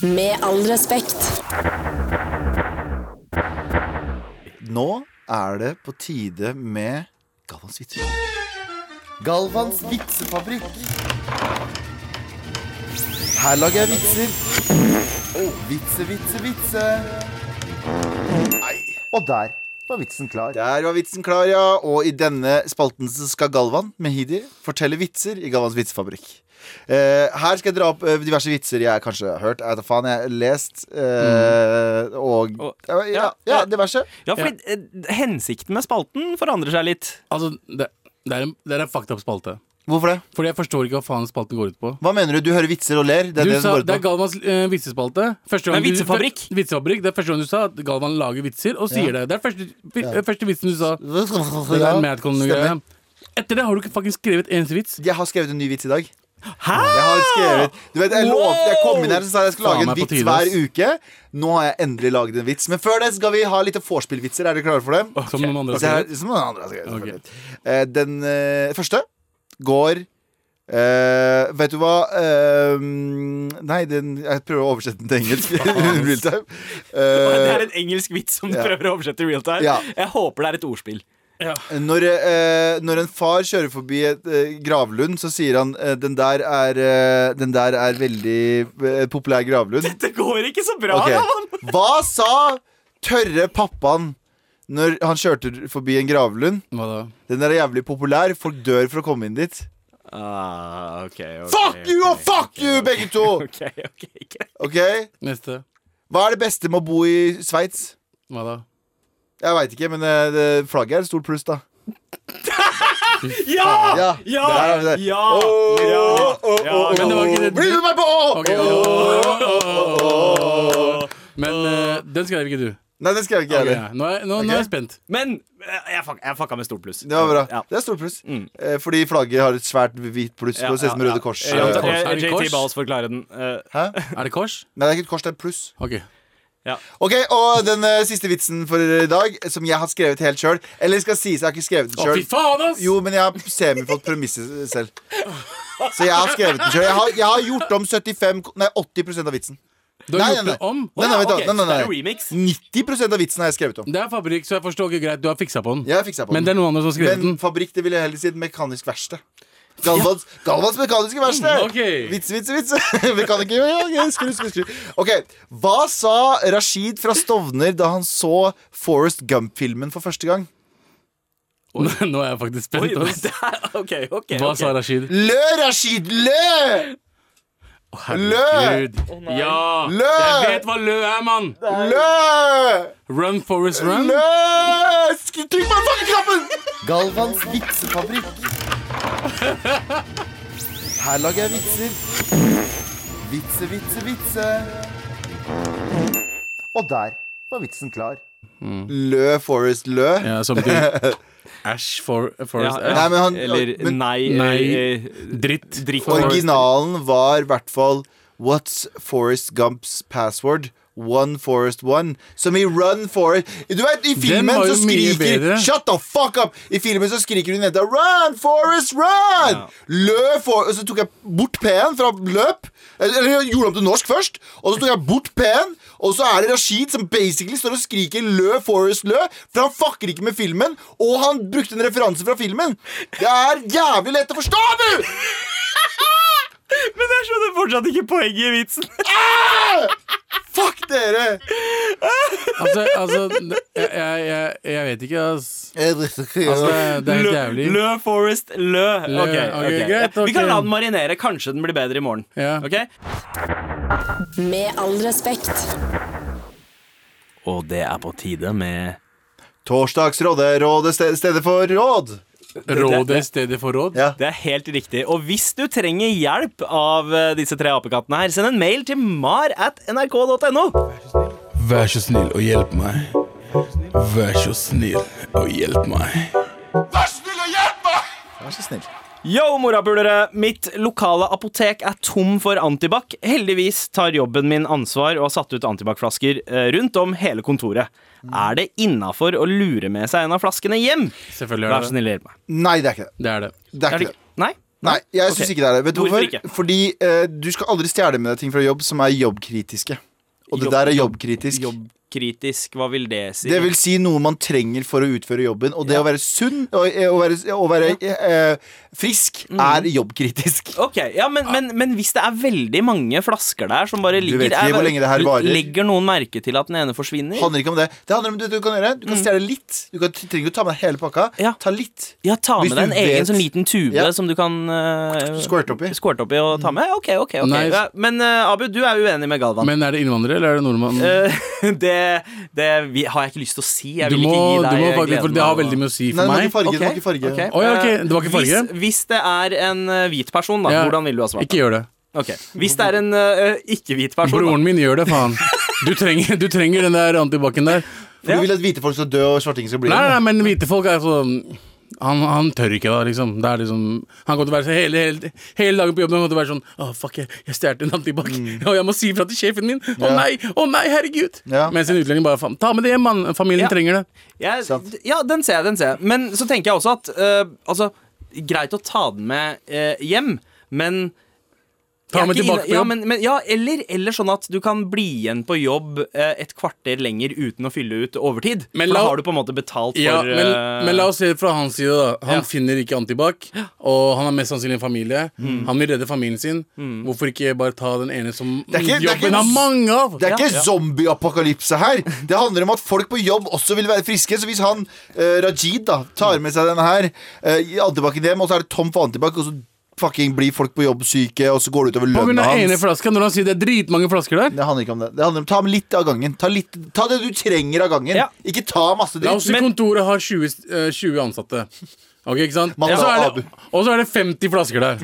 Speaker 1: Med all respekt.
Speaker 2: Nå er det på tide med Galvans vitser. Galvans vitsefabrikk. Her lager jeg vitser. Vitse, vitse, vitse.
Speaker 5: Og der var vitsen klar.
Speaker 2: Der var vitsen klar, ja. Og i denne spalten så skal Galvan Mehidi fortelle vitser i Galvans vitsefabrikk. Eh, her skal jeg dra opp eh, diverse vitser jeg kanskje har hørt, jeg vet da faen, jeg har lest eh, og,
Speaker 4: Og-
Speaker 2: ja, ja, ja, diverse.
Speaker 4: Ja, fordi eh, hensikten med spalten forandrer seg litt.
Speaker 3: Altså, det, det er en, det er en fucked up spalte.
Speaker 2: Hvorfor det?
Speaker 3: Fordi jeg forstår ikke hva faen spalten går ut på.
Speaker 2: Hva mener du? Du hører vitser og ler? Det
Speaker 3: Du
Speaker 2: er det
Speaker 3: sa
Speaker 2: går ut
Speaker 3: det er
Speaker 2: på.
Speaker 3: Galvans eh, vitsespalte. Første gang
Speaker 4: Nei,
Speaker 3: du-
Speaker 4: vitsefabrikk.
Speaker 3: fyr- vitsefabrikk. Det er første gang du sa at Galvan lager vitser, og sier det. Det er første, vi- eh, første vitsen du sa. Det
Speaker 2: Ja,
Speaker 3: der Madcon-greia.
Speaker 2: stemmer.
Speaker 3: Etter det har du ikke fucking skrevet eneste vits.
Speaker 2: Jeg har skrevet en ny vits i dag.
Speaker 4: Hæ?!
Speaker 2: Jeg har skrevet Du vet, jeg lovte Jeg kom inn her og sa jeg skulle
Speaker 3: Faen
Speaker 2: lage en
Speaker 3: meg på
Speaker 2: vits
Speaker 3: tide,
Speaker 2: hver
Speaker 3: ass.
Speaker 2: uke. Nå har jeg endelig laget en vits. Men før det skal vi ha litt vorspiel-vitser. Er dere klare for dem?
Speaker 3: Som noen andre har
Speaker 2: Så Altså, jeg-
Speaker 3: skrevet.
Speaker 2: som noen andre har skrevet.
Speaker 3: Ok.
Speaker 2: selvfølgelig. Eh, Den eh, første går eh, vet du hva Eh, Nei, den, jeg prøver å oversette den til engelsk. *laughs* Real time.
Speaker 4: Det er
Speaker 2: Eh,
Speaker 4: en engelsk vits som du
Speaker 2: Ja.
Speaker 4: prøver å oversette i real time.
Speaker 2: Ja.
Speaker 4: Jeg håper det er et ordspill.
Speaker 2: når, eh, når en far kjører forbi et eh, gravlund, så sier han eh, den, der er, eh, 'Den der er veldig eh, populær gravlund'.
Speaker 4: *laughs* Det går ikke så bra,
Speaker 2: Ok.
Speaker 4: da, mann!
Speaker 2: Hva sa tørre pappaen når han kjørte forbi en gravlund?
Speaker 3: Hva da?
Speaker 2: Den er jævlig populær, folk dør for å komme inn dit.
Speaker 4: Ah, ok, ok,
Speaker 2: Fuck you og
Speaker 4: ok,
Speaker 2: fuck
Speaker 4: ok,
Speaker 2: you,
Speaker 4: ok,
Speaker 2: begge to!
Speaker 4: ok, ok, greit.
Speaker 2: Ok,
Speaker 3: Neste.
Speaker 2: Hva er det beste med å bo i Sveits?
Speaker 3: Hva da?
Speaker 2: Jeg veit ikke, men eh, det- flagget er et stort pluss, da.
Speaker 4: Ja!
Speaker 2: Ja!
Speaker 4: Ja!
Speaker 2: Der er vi der.
Speaker 4: Ja!
Speaker 2: Åh,
Speaker 4: Ja!
Speaker 2: åh, åh,
Speaker 4: Ja,
Speaker 2: åh,
Speaker 3: men det var ikke det-
Speaker 2: åh. Blir du meg på åh?
Speaker 3: Ok, åh, åh, åh. Men eh, den skrev ikke du.
Speaker 2: Nei, det skrev jeg ikke
Speaker 3: Ok,
Speaker 2: jeg heller.
Speaker 3: ja. nå, er, nå, nå er jeg spent.
Speaker 4: Men eh, jeg, fuck, jeg fucka med stort pluss.
Speaker 2: Det var bra.
Speaker 4: Ja.
Speaker 2: Det er et stort pluss.
Speaker 3: Mm.
Speaker 2: Eh, Fordi flagget har et svært hvitt pluss. på, Det ser ut som Røde Kors.
Speaker 4: Ja,
Speaker 3: Røde
Speaker 2: eh,
Speaker 3: Kors.
Speaker 4: eh,
Speaker 3: Er det
Speaker 4: JT
Speaker 3: kors?
Speaker 4: Balls forklarer
Speaker 3: *laughs*
Speaker 4: den. Eh,
Speaker 2: Hæ?
Speaker 3: Er det kors?
Speaker 2: Nei, det er ikke et kors, det er et pluss.
Speaker 3: OK.
Speaker 2: Ok, og den eh, siste vitsen for i dag, som jeg har skrevet helt sjøl. Eller skal sies, jeg har ikke skrevet den
Speaker 3: Å, fy
Speaker 2: sjøl.
Speaker 3: faen, ass!
Speaker 2: Jo, men jeg har semifått premisset selv. Så jeg har skrevet den sjøl. Jeg, har- jeg har gjort om 75, ko- nei 80 av vitsen.
Speaker 3: Du har
Speaker 2: Nei,
Speaker 3: gjort
Speaker 2: nei,
Speaker 3: det om?
Speaker 2: Nei, nei, vent da,
Speaker 4: ok,
Speaker 2: nei, nei,
Speaker 4: så Det
Speaker 2: nei.
Speaker 4: er remix.
Speaker 2: 90 av vitsen har jeg skrevet om.
Speaker 3: Det er fabrikk, så jeg forstår ikke greit. Du har fiksa på den.
Speaker 2: Jeg har fiksa på
Speaker 3: Men det
Speaker 2: den.
Speaker 3: er noen andre som har skrevet
Speaker 2: Men
Speaker 3: den. *laughs*
Speaker 2: fabrikk, det vil jeg heller si et mekanisk verksted. Galvans, Galvans mekaniske verksted!
Speaker 3: Mm, ok.
Speaker 2: Vitse, vitse, *laughs* vitse! Mekaniker ja, ja, Skru, skru, skru. Ok, Hva sa Rashid fra Stovner da han så Forrest Gump-filmen for første gang?
Speaker 3: Nå er jeg faktisk
Speaker 4: Oi,
Speaker 3: spent.
Speaker 4: men
Speaker 3: ass.
Speaker 4: det er, *laughs* ok, ok.
Speaker 3: Hva
Speaker 4: ok.
Speaker 3: sa Rashid?
Speaker 2: Lø, Rashid! Lø!
Speaker 3: Herregud. ja!
Speaker 2: Lø!
Speaker 3: Jeg vet hva lø er, mann!
Speaker 2: Lø!
Speaker 3: Run, Forest, run.
Speaker 2: Lø! Sk- Trykk på den fucking knappen! Galvans vitsefabrikk. Her lager jeg vitser. Vitse, vitse, vitse.
Speaker 5: Og der var vitsen klar.
Speaker 2: Lø, Forrest, lø.
Speaker 3: Ja,
Speaker 2: *laughs*
Speaker 3: som betyr Æsj for
Speaker 4: Ja,
Speaker 3: Forest
Speaker 4: ja.
Speaker 2: Nei, men han-
Speaker 4: Eller
Speaker 2: men-
Speaker 4: nei,
Speaker 3: Nei.
Speaker 4: eh,
Speaker 3: Dritt.
Speaker 4: Dritt.
Speaker 2: Originalen var i hvert fall What's Forrest Gumps password? One Forest One. Som i Run Forest Du vet, i filmen
Speaker 3: var jo
Speaker 2: så
Speaker 3: mye
Speaker 2: skriker
Speaker 3: bedre.
Speaker 2: Shut the fuck up! I filmen så skriker hun jenta Run Forest Run! Løp for Og så tok jeg bort P-en fra løp. Eller jeg gjorde om til norsk først. Og så tok jeg bort P-en, og så er det Rashid som basically står og skriker Lø Forest Lø, for han fucker ikke med filmen, og han brukte en referanse fra filmen. Det er jævlig lett å forstå, du!
Speaker 4: Men sånn jeg skjønner fortsatt ikke poenget i vitsen.
Speaker 2: Fuck dere!
Speaker 3: Altså, altså det- jeg, jeg, jeg, jeg vet ikke, ass. Altså,
Speaker 2: Altså,
Speaker 3: det, det er helt jævlig.
Speaker 4: Lø, lø Forest, lø.
Speaker 3: Lø,
Speaker 4: Ok,
Speaker 3: ok,
Speaker 4: ok.
Speaker 3: greit, ok.
Speaker 4: Vi kan la den marinere. Kanskje den blir bedre i morgen.
Speaker 3: Ja.
Speaker 4: Ok?
Speaker 1: Med all respekt.
Speaker 4: Og det er på tide med
Speaker 2: Torsdagsrådet, rådet ste- stedet for råd.
Speaker 3: Råd er stedet for råd.
Speaker 2: Ja.
Speaker 4: Det er helt riktig. Og hvis du trenger hjelp av eh, disse tre apekattene her, send en mail til mar at nrk.no.
Speaker 6: Vær så snill og hjelp meg. Vær så snill og hjelp meg.
Speaker 2: Vær så snill.
Speaker 4: Yo, morapulere! Mitt lokale apotek er tom for antibac. Heldigvis tar jobben min ansvar og har satt ut antibac-flasker eh, rundt om hele kontoret. Er det innafor å lure med seg en av flaskene hjem?
Speaker 3: Selvfølgelig
Speaker 4: Vær så
Speaker 3: er det det.
Speaker 4: snill, hjelp meg.
Speaker 2: Nei, det er ikke det.
Speaker 3: Det er det.
Speaker 2: Det er
Speaker 4: Er
Speaker 2: ikke
Speaker 4: det
Speaker 2: det.
Speaker 4: ikke? Nei?
Speaker 2: Nei, jeg syns
Speaker 4: Ok.
Speaker 2: ikke det er det. Vet du
Speaker 4: Hvorfor
Speaker 2: hvorfor?
Speaker 4: ikke?
Speaker 2: Fordi eh, du skal aldri stjele med deg ting fra jobb som er jobbkritiske. Og det
Speaker 4: Jobb-
Speaker 2: der er jobbkritisk.
Speaker 4: jobb- ukritisk, hva vil det si?
Speaker 2: Det vil si noe man trenger for å utføre jobben. Og det å være sunn og eh, å være, å være eh, frisk
Speaker 4: Mm.
Speaker 2: er jobbkritisk.
Speaker 4: Ok, ja, men, men, men hvis det er veldig mange flasker der som bare ligger
Speaker 2: vet ikke
Speaker 4: er-
Speaker 2: hvor lenge det her varer.
Speaker 4: Legger noen merke til at den ene forsvinner?
Speaker 2: Det handler ikke om det. Det handler om det du kan gjøre. Du kan stjele litt. Du kan, trenger ikke å ta med deg hele pakka.
Speaker 4: Mm. Ja.
Speaker 2: Ta litt.
Speaker 4: ja, ta
Speaker 2: Hvis
Speaker 4: med deg en
Speaker 2: du
Speaker 4: egen
Speaker 2: vet-
Speaker 4: sånn liten tube
Speaker 2: Ja.
Speaker 4: som du kan eh,
Speaker 2: Squirt oppi.
Speaker 4: squirte oppi og ta med? Ok, ok. ok
Speaker 3: Nice.
Speaker 4: ja, Men eh, Abu, du er uenig med Galvan.
Speaker 3: Men er det innvandrere, eller er det nordmann?
Speaker 4: Eh, *laughs* det det vi, har jeg ikke lyst til å si. Jeg
Speaker 3: du
Speaker 4: vil
Speaker 3: må,
Speaker 4: ikke gi
Speaker 3: du
Speaker 4: deg
Speaker 3: må faktisk, for
Speaker 4: gleden
Speaker 3: det har
Speaker 4: av å-
Speaker 3: veldig mye å si
Speaker 2: Nei,
Speaker 3: for
Speaker 2: det var
Speaker 3: meg.
Speaker 2: ikke farge.
Speaker 4: Ok,
Speaker 2: Det var ikke farge.
Speaker 4: ok. Eh,
Speaker 3: Å, ja, ok, det var ikke farge.
Speaker 4: Hvis, hvis det er en eh, hvit person, da,
Speaker 3: Ja.
Speaker 4: hvordan vil du ha svart?
Speaker 3: Ikke gjør det.
Speaker 4: Ok. Hvis det er en eh, ikke-hvit person da.
Speaker 3: Broren min gjør det, faen. Du trenger, du trenger den der antibac-en der.
Speaker 2: For
Speaker 4: Ja.
Speaker 2: du vil at hvite folk skal dø, og svartinger skal bli
Speaker 3: Nei,
Speaker 2: igjen.
Speaker 3: nei, men hvite folk er sånn han, han tør ikke, da, liksom. Det er liksom han kommer til å være så hele, hele, hele dagen på jobben Han kommer til å være sånn Å, fuck, jeg, jeg stjal en antibac.
Speaker 2: Mm.
Speaker 3: Og jeg må si ifra til sjefen min. Å nei, å nei, herregud.
Speaker 2: Ja.
Speaker 3: Mens en utlending bare faen, Ta med det hjem, mann. Familien
Speaker 4: Ja.
Speaker 3: trenger det.
Speaker 4: Jeg-
Speaker 2: Sant.
Speaker 4: ja, den ser jeg, den ser jeg. Men så tenker jeg også at eh, Altså, greit å ta den med eh, hjem, men
Speaker 3: Ta
Speaker 4: jeg er
Speaker 3: med
Speaker 4: ikke
Speaker 3: tilbake
Speaker 4: inne-
Speaker 3: på
Speaker 4: Ja,
Speaker 3: jobb.
Speaker 4: men, men, ja eller, eller sånn at du kan bli igjen på jobb eh, et kvarter lenger uten å fylle ut overtid.
Speaker 3: Men
Speaker 4: for
Speaker 3: la-
Speaker 4: da har du på en måte betalt for
Speaker 3: Ja, men,
Speaker 4: eh,
Speaker 3: men la oss se det fra hans side, da. Han
Speaker 4: Ja.
Speaker 3: finner ikke antibac, og han har mest sannsynlig en familie.
Speaker 2: Mm.
Speaker 3: Han vil redde familien sin.
Speaker 4: Mm.
Speaker 3: Hvorfor ikke bare ta den ene som
Speaker 2: er ikke- det er ikke-
Speaker 3: jobben har mange av?
Speaker 2: Det er ikke zombieapokalypse her. Det handler om at folk på jobb også vil være friske. Så hvis han eh, Rajid da tar med seg denne her eh, i antibac-en hjem, og så er det tom for antibac, og så fucking blir folk på jobb syke, og så går det utover
Speaker 3: På grunn
Speaker 2: lønna
Speaker 3: av ene
Speaker 2: hans.
Speaker 3: flaska, når han sier det er dritmange flasker der.
Speaker 2: Det handler ikke om det. det handler om, ta med litt av gangen. Ta, litt, ta det du trenger av gangen.
Speaker 4: Ja.
Speaker 2: Ikke ta masse
Speaker 3: La oss
Speaker 2: dritt.
Speaker 3: si
Speaker 4: Men-
Speaker 3: kontoret har 20, eh, 20 ansatte. Ok, ikke sant?
Speaker 2: Matte
Speaker 3: Og så er
Speaker 2: og
Speaker 3: det, og så er det 50 flasker der.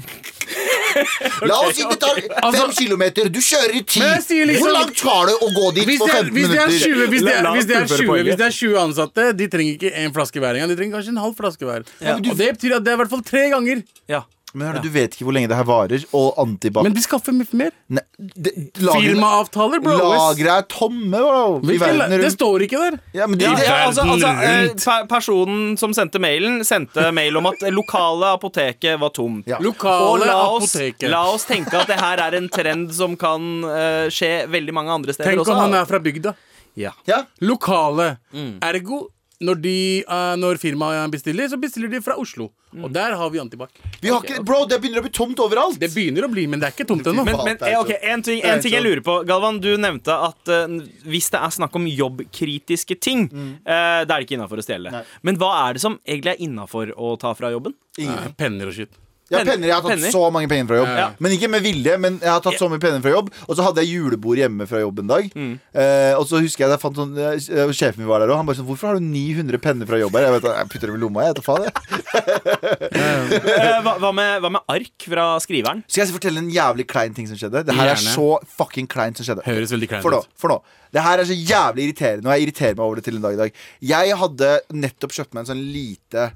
Speaker 2: La oss si det tar fem
Speaker 3: Altså-
Speaker 2: kilometer. Du kjører i ti.
Speaker 3: Men jeg sier liksom-
Speaker 2: Hvor langt tar det å gå dit
Speaker 3: Hvis
Speaker 2: på
Speaker 3: det er,
Speaker 2: 15
Speaker 3: hvis det er,
Speaker 2: minutter?
Speaker 3: 20, hvis det er,
Speaker 4: La- la
Speaker 3: hvis det er,
Speaker 4: oss fullføre
Speaker 3: 20, hvis
Speaker 4: poenget.
Speaker 3: det er 20 ansatte, de trenger ikke én flaske hver engang. De trenger kanskje en halv flaske hver.
Speaker 4: Ja.
Speaker 3: Og det betyr at det er i hvert fall tre ganger.
Speaker 4: ja.
Speaker 2: Men hør, du vet ikke hvor lenge det her varer, og antibac
Speaker 3: Men de skaffer mye mer.
Speaker 2: Nei, det- lagrene-
Speaker 3: Firmaavtaler, bro.
Speaker 2: Lagre er tomme, bro. I
Speaker 3: Hvilken, la-
Speaker 2: verden
Speaker 3: det
Speaker 2: rundt.
Speaker 3: står ikke der.
Speaker 2: Ja, men det,
Speaker 4: Ja,
Speaker 2: det,
Speaker 4: ja, altså, altså, eh,
Speaker 3: rundt.
Speaker 4: per- personen som sendte mailen,
Speaker 3: *laughs*
Speaker 4: sendte mail om at lokale apoteket var tomt.
Speaker 2: Ja.
Speaker 4: Og
Speaker 3: Lokale
Speaker 4: la oss,
Speaker 3: apoteket.
Speaker 4: la oss tenke at det her er en trend som kan eh, skje veldig mange andre steder
Speaker 3: Tenk
Speaker 4: også.
Speaker 3: om han er fra bygda.
Speaker 4: ja.
Speaker 2: ja.
Speaker 3: Lokale.
Speaker 4: Mm.
Speaker 3: Ergo, når, de, eh, når firmaet bestiller, så bestiller de fra Oslo.
Speaker 4: Mm.
Speaker 3: Og der har vi antibac.
Speaker 2: Vi har ikke, bro, det begynner å bli tomt overalt.
Speaker 3: Det begynner å bli, men det er ikke tomt ennå.
Speaker 4: Men,
Speaker 2: Faen,
Speaker 4: men
Speaker 2: det er
Speaker 4: eh, ok,
Speaker 2: så-
Speaker 4: en ting,
Speaker 2: det er
Speaker 4: en ting jeg
Speaker 2: så-
Speaker 4: lurer på. Galvan, du nevnte at eh, hvis det er snakk om jobbkritiske ting,
Speaker 2: Mm.
Speaker 4: eh, da er det ikke innafor å stjele. Men hva er det som egentlig er innafor å ta
Speaker 2: *laughs*
Speaker 4: fra jobben?
Speaker 3: Nei, Penner og shit.
Speaker 2: Jeg har
Speaker 4: Penner.
Speaker 2: penner, jeg har tatt
Speaker 4: Penner.
Speaker 2: så mange penger fra jobb.
Speaker 4: Ja.
Speaker 2: Men ikke med vilje, men jeg har tatt så mye penger fra jobb. Og så hadde jeg julebord hjemme fra jobb en dag.
Speaker 3: Mm.
Speaker 2: Eh, og så husker jeg at jeg fant sånn eh, Sjefen min var der òg. Han bare sånn Hvorfor har du 900 penner fra jobb her? Jeg vet da, jeg putter dem i lomma, jeg. Vet da faen, jeg.
Speaker 4: Eh, hva, hva, med, hva med ark fra skriveren?
Speaker 2: Skal jeg fortelle en jævlig klein ting som skjedde? Det her er
Speaker 3: Gjerne.
Speaker 2: så fucking kleint som skjedde.
Speaker 3: Høres veldig kleint
Speaker 2: For nå,
Speaker 3: ut.
Speaker 2: for nå. Det her er så jævlig irriterende, og jeg irriterer meg over det til en dag i dag. Jeg hadde nettopp kjøpt meg en sånn lite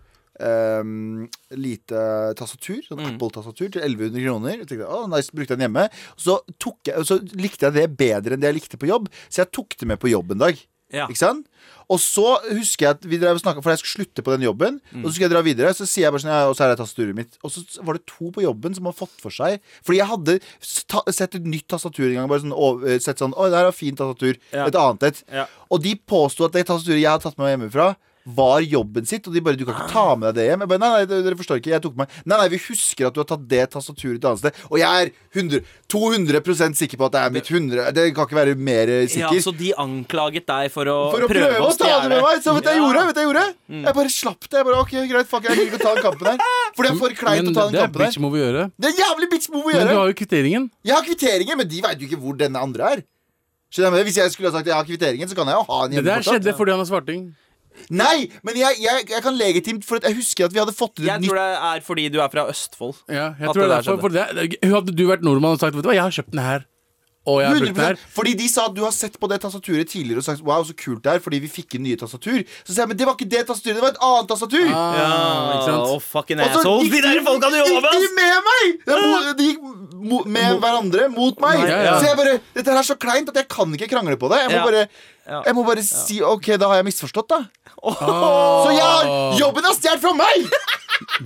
Speaker 2: ehm, lite tastatur, sånn Apple-tastatur til 1100 kroner. Jeg tenkte, «Å, nice, brukte jeg den hjemme så, tok jeg, så likte jeg det bedre enn det jeg likte på jobb, så jeg tok det med på jobb en dag.
Speaker 4: Ja.
Speaker 2: Ikke sant? Og så husker jeg at vi drev og snakket, for jeg skulle slutte på den jobben.
Speaker 4: Mm.
Speaker 2: Og så skulle jeg dra videre, så sier jeg bare sånn, ja, og så er det tastaturet mitt. Og så var det to på jobben som har fått for seg. Fordi jeg hadde s- ta, sett et nytt tastatur en gang. Bare sånn, og, eh, sett sånn, oi, det her er fint tastatur.
Speaker 4: Ja.
Speaker 2: Et annet et.
Speaker 4: Ja.
Speaker 2: Og de påsto at det tastaturet jeg hadde tatt med meg hjemmefra, var jobben sitt, og de bare 'Du kan ikke ta med deg det hjem.' Jeg bare, nei, nei, dere- dere forstår ikke, jeg tok meg Nei, nei, vi husker at du har tatt det tastaturet et annet sted, og jeg er 100, 200 sikker på at det er mitt 100 Det kan ikke være mer eh,
Speaker 4: Ja,
Speaker 2: sikker.
Speaker 4: så de anklaget deg for å,
Speaker 2: For å prøve, å ta det med meg. Så vet du hva jeg gjorde? Vet du hva jeg gjorde?
Speaker 3: Mm.
Speaker 2: Jeg bare slapp det. Jeg bare, ok, greit, fuck, jeg gidder ikke å ta den kampen der. Fordi jeg er for kleint
Speaker 3: Men
Speaker 2: å ta den
Speaker 3: det er
Speaker 2: kampen der.
Speaker 3: bitch-move å gjøre.
Speaker 2: Det er en jævlig bitch move å
Speaker 3: Men du
Speaker 2: gjøre.
Speaker 3: har jo kvitteringen.
Speaker 2: Jeg har kvitteringer, men de veit jo ikke hvor denne andre er. Skjønner jeg med det? Hvis jeg skulle ha sagt jeg har kvitteringen, så kan jeg jo ha en
Speaker 3: Det der
Speaker 2: hjemme
Speaker 3: skjedde fordi han er svarting.
Speaker 2: Nei, men jeg, jeg, jeg kan legitimt For at jeg husker at vi hadde fått ut et
Speaker 4: Jeg
Speaker 2: nytt
Speaker 4: tror det er fordi du er fra Østfold.
Speaker 3: Ja, jeg
Speaker 4: At det
Speaker 3: tror det
Speaker 4: der
Speaker 3: er derfor, for det, er- Hadde du vært nordmann og sagt Vet du hva, jeg har kjøpt den her, og jeg har brukt den
Speaker 2: 100%
Speaker 3: her
Speaker 2: Fordi de sa at du har sett på det tastaturet tidligere og sagt wow, så kult det er, fordi vi fikk inn nye tastatur. Så sa jeg men det var ikke det tastaturet, det var et annet tastatur.
Speaker 3: Ah, ikke sant?
Speaker 4: Å, fucking
Speaker 2: Og så
Speaker 4: assholes.
Speaker 2: gikk
Speaker 4: De der folka du jobber
Speaker 2: gikk de
Speaker 4: med! ass.
Speaker 2: med meg! Det er mo- De gikk mo- med hverandre mot meg.
Speaker 3: Ja, ja.
Speaker 2: Så jeg bare Dette her er så kleint at jeg kan ikke krangle på det. Jeg må
Speaker 4: Ja.
Speaker 2: bare
Speaker 4: Ja.
Speaker 2: Jeg må bare si OK, da har jeg misforstått, da. Så ja, jobben er stjålet fra meg!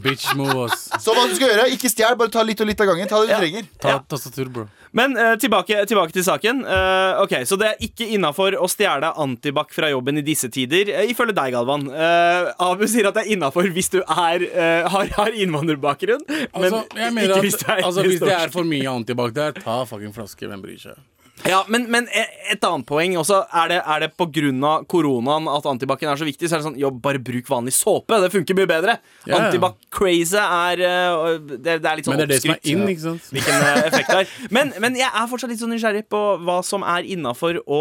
Speaker 3: Bitch move, ass.
Speaker 2: Så hva du skal gjøre, ikke stjel, bare ta litt og litt av gangen. Ta det du trenger.
Speaker 3: Ta tastatur, bro.
Speaker 4: Men eh, tilbake, tilbake til saken. Eh, ok, Så det er ikke innafor å stjele antibac fra jobben i disse tider, eh, ifølge deg, Galvan. Eh, Abu sier at det er innafor hvis du er, eh, har, har innvandrerbakgrunn, men
Speaker 3: Altså, jeg mener
Speaker 4: ikke
Speaker 3: at
Speaker 4: hvis det er
Speaker 3: altså, hvis det er for mye antibac der, ta fucking flaske. Hvem bryr seg?
Speaker 4: Ja, men, men e- et annet poeng også. Er det, er det på grunn av koronaen at antibac-en er så viktig? Så er det sånn, jo, bare bruk vanlig såpe. Det funker mye bedre.
Speaker 3: Ja, ja.
Speaker 4: Antibac-crazy er eh, det, det er litt sånn
Speaker 3: Men det er det som er
Speaker 4: oppskrytt.
Speaker 3: inn, ikke sant?
Speaker 4: hvilken eh, effekt det er. Men, men jeg er fortsatt litt sånn nysgjerrig på hva som er innafor å,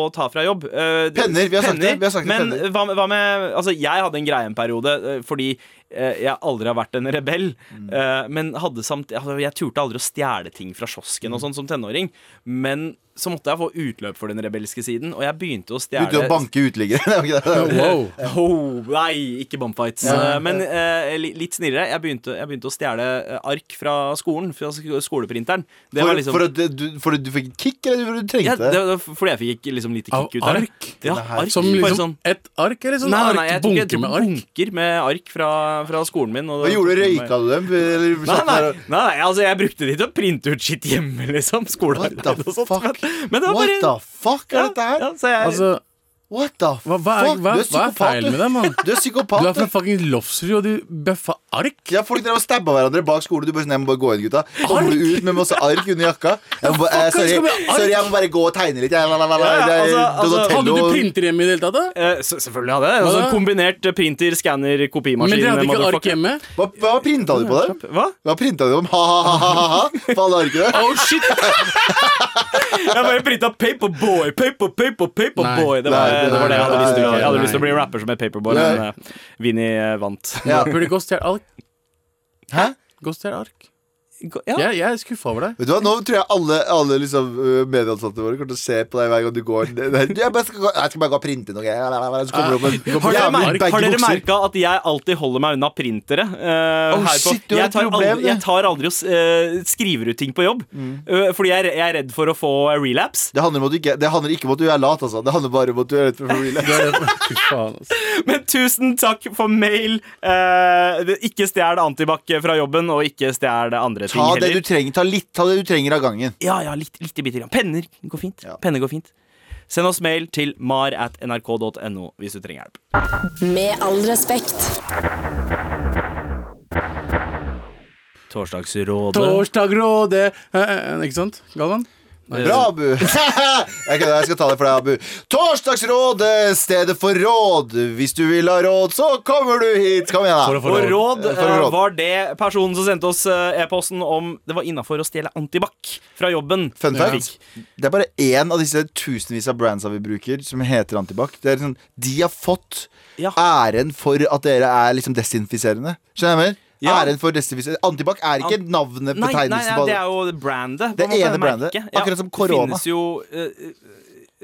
Speaker 4: å ta fra jobb. Eh, det-
Speaker 2: Penner, vi har sagt det, vi har sagt det,
Speaker 4: men
Speaker 2: penner.
Speaker 4: hva, med- hva med Altså, jeg hadde en greie en periode eh, fordi eh, jeg aldri har vært en rebell.
Speaker 2: Mm.
Speaker 4: eh, men hadde samt altså, Jeg turte aldri å stjele ting fra kiosken
Speaker 2: Mm.
Speaker 4: og sånn som tenåring. Men så måtte jeg få utløp for den rebelske siden, og jeg begynte å stjele
Speaker 2: Begynte å banke uteliggere. *laughs* Det var ikke det.
Speaker 3: Wow.
Speaker 4: Oh, nei, ikke bumpfights. Eh, men eh, li- litt snillere. Jeg begynte, jeg begynte å stjele eh, ark fra skolen. Fra sk- skoleprinteren. Det
Speaker 2: For,
Speaker 4: var liksom
Speaker 2: for, at du, for at du fikk kick, eller for at du
Speaker 4: ja,
Speaker 2: trengte
Speaker 4: det var fordi jeg fikk liksom lite
Speaker 3: Av
Speaker 4: kick ut av det.
Speaker 3: ark?
Speaker 4: Ja,
Speaker 2: her-
Speaker 4: ark.
Speaker 3: Som
Speaker 4: Bare
Speaker 3: liksom
Speaker 4: sånn
Speaker 3: et ark, eller
Speaker 4: Nei,
Speaker 3: sånn
Speaker 4: nei,
Speaker 3: ark?
Speaker 4: nei, jeg tok jeg
Speaker 3: bunke
Speaker 4: tok
Speaker 3: med ark?
Speaker 4: bunker med ark fra, fra skolen min. Og
Speaker 2: Hva gjorde du? Røyka du dem? Eller
Speaker 4: Nei,
Speaker 2: satt
Speaker 4: nei,
Speaker 2: der og-
Speaker 4: nei, nei, altså jeg brukte de til å printe ut skitt hjemme, *laughs* liksom. Skolearbeid *laughs*
Speaker 2: What the
Speaker 4: og sånt.
Speaker 2: fuck?
Speaker 4: Men, men det var
Speaker 2: What
Speaker 4: bare
Speaker 2: the fuck er
Speaker 4: ja,
Speaker 2: dette her?
Speaker 4: Ja, så jeg,
Speaker 3: Altså,
Speaker 2: What the
Speaker 3: hva, hva, er,
Speaker 2: fuck? Du
Speaker 3: hva,
Speaker 2: er
Speaker 3: hva er
Speaker 2: psykopat,
Speaker 3: feil
Speaker 2: du.
Speaker 3: med deg, mann?
Speaker 2: Du er
Speaker 3: Du
Speaker 2: psykopat.
Speaker 3: er fra
Speaker 2: du.
Speaker 3: fucking Lofsrud, og du bøffa ark?
Speaker 2: Ja, Folk drev og stabba hverandre bak skole. Du bare sånn, jeg må bare gå inn, gutta. Kommer du ut med masse ark under jakka? Jeg må, bare- eh,
Speaker 3: Fuck, jeg skal
Speaker 2: sorry,
Speaker 3: med ark.
Speaker 2: sorry, jeg må bare gå og tegne litt. Jeg, la, la, la, la,
Speaker 4: Ja, ja,
Speaker 2: jeg-
Speaker 4: altså, altså,
Speaker 2: Donatello-
Speaker 3: Hadde du printer hjemme i det hele tatt? da?
Speaker 4: eh, så- selvfølgelig hadde jeg det. Altså,
Speaker 3: Hva da?
Speaker 4: kombinert eh, printer, skanner, kopimaskin.
Speaker 3: Men dere hadde ikke ark
Speaker 4: motherfucker.
Speaker 3: hjemme?
Speaker 2: Hva, hva printa du på der?
Speaker 4: Hva?
Speaker 2: Hva printa du om? Ha-ha-ha-ha på alle arkene?
Speaker 3: Oh shit!
Speaker 4: Jeg bare printa Paperboy, Paper, Paper, Paperboy.
Speaker 3: Nei,
Speaker 4: Det, var-
Speaker 2: nei,
Speaker 4: det var det jeg hadde
Speaker 2: nei,
Speaker 4: lyst til å
Speaker 2: nei,
Speaker 4: Jeg hadde
Speaker 3: nei.
Speaker 4: lyst til å bli rapper som het Paperboy,
Speaker 2: Nei.
Speaker 4: men eh, Vinny eh, vant.
Speaker 2: Ja.
Speaker 3: Burde ikke å stjele ark.
Speaker 2: Hæ?
Speaker 3: Gå og stjele ark.
Speaker 4: Ja.
Speaker 3: Jeg, jeg er skuffa over deg.
Speaker 2: Vet du hva, Nå tror jeg alle, alle liksom, ø, medieansatte våre kommer til å se på deg hver gang du går. Det- det- Jeg, bare skal, gå- jeg skal bare gå og printe noe. jeg- Så kommer det opp en
Speaker 3: Har
Speaker 4: Jeg
Speaker 2: jævlig
Speaker 3: merket-
Speaker 4: merker-
Speaker 2: begge
Speaker 4: har dere
Speaker 2: bukser.
Speaker 4: merka at jeg alltid holder meg unna printere? eh,
Speaker 2: Oh,
Speaker 4: her på-
Speaker 2: shit, du har
Speaker 4: jeg,
Speaker 2: et
Speaker 4: tar
Speaker 2: problem,
Speaker 4: aldri, jeg
Speaker 2: du. Mm.
Speaker 4: tar aldri og s- eh, skriver ut ting på jobb. eh, fordi jeg, er- jeg er redd for å få eh, relapse.
Speaker 2: Det handler, om at du ikke, det handler ikke om at du er lat, altså. Det handler bare om at du er redd for
Speaker 3: Du
Speaker 2: familie.
Speaker 3: er *laughs* det. Fy faen, ass.
Speaker 4: Men tusen takk for mail. Eh, det- ikke stjel antibac fra jobben, og ikke stjel andre ting
Speaker 2: Ta det du
Speaker 4: heller.
Speaker 2: trenger, ta litt, ta det du trenger av gangen.
Speaker 4: Ja, ja, litt, litt bitte grann. Penner går fint.
Speaker 2: Ja.
Speaker 4: Penner går fint. Send oss mail til mar at nrk.no hvis du trenger hjelp.
Speaker 1: Med all respekt.
Speaker 4: Torsdagsrådet.
Speaker 3: Torsdag råde Eh, eh, Ikke sant, Galvan?
Speaker 2: Bra, Abu. jeg, kødder, jeg skal ta det for deg, Abu. Torsdagsrådet, stedet for råd. Hvis du vil ha råd, så kommer du hit. Kom igjen, da.
Speaker 3: For å få
Speaker 4: Og råd
Speaker 2: Eh, for
Speaker 4: eh,
Speaker 2: råd.
Speaker 4: var det personen som sendte oss eh, e-posten om det var innafor å stjele antibac fra jobben.
Speaker 2: Fun
Speaker 4: Ja.
Speaker 2: fact. Det er bare én av disse tusenvis av brandsa vi bruker, som heter Antibac. Det er liksom, de har fått
Speaker 4: Ja.
Speaker 2: æren for at dere er liksom desinfiserende. Skjønner du hva jeg mener?
Speaker 4: Ja.
Speaker 2: Æren for desinfiserende. Antibac er ikke
Speaker 4: An-
Speaker 2: navnet
Speaker 4: Nei, nei,
Speaker 2: betegnelsen
Speaker 4: nei,
Speaker 2: på
Speaker 4: det er jo brandet. på
Speaker 2: Det
Speaker 4: en måte,
Speaker 2: ene brandet,
Speaker 4: merket.
Speaker 2: akkurat som
Speaker 4: Det
Speaker 2: korona.
Speaker 4: finnes jo eh,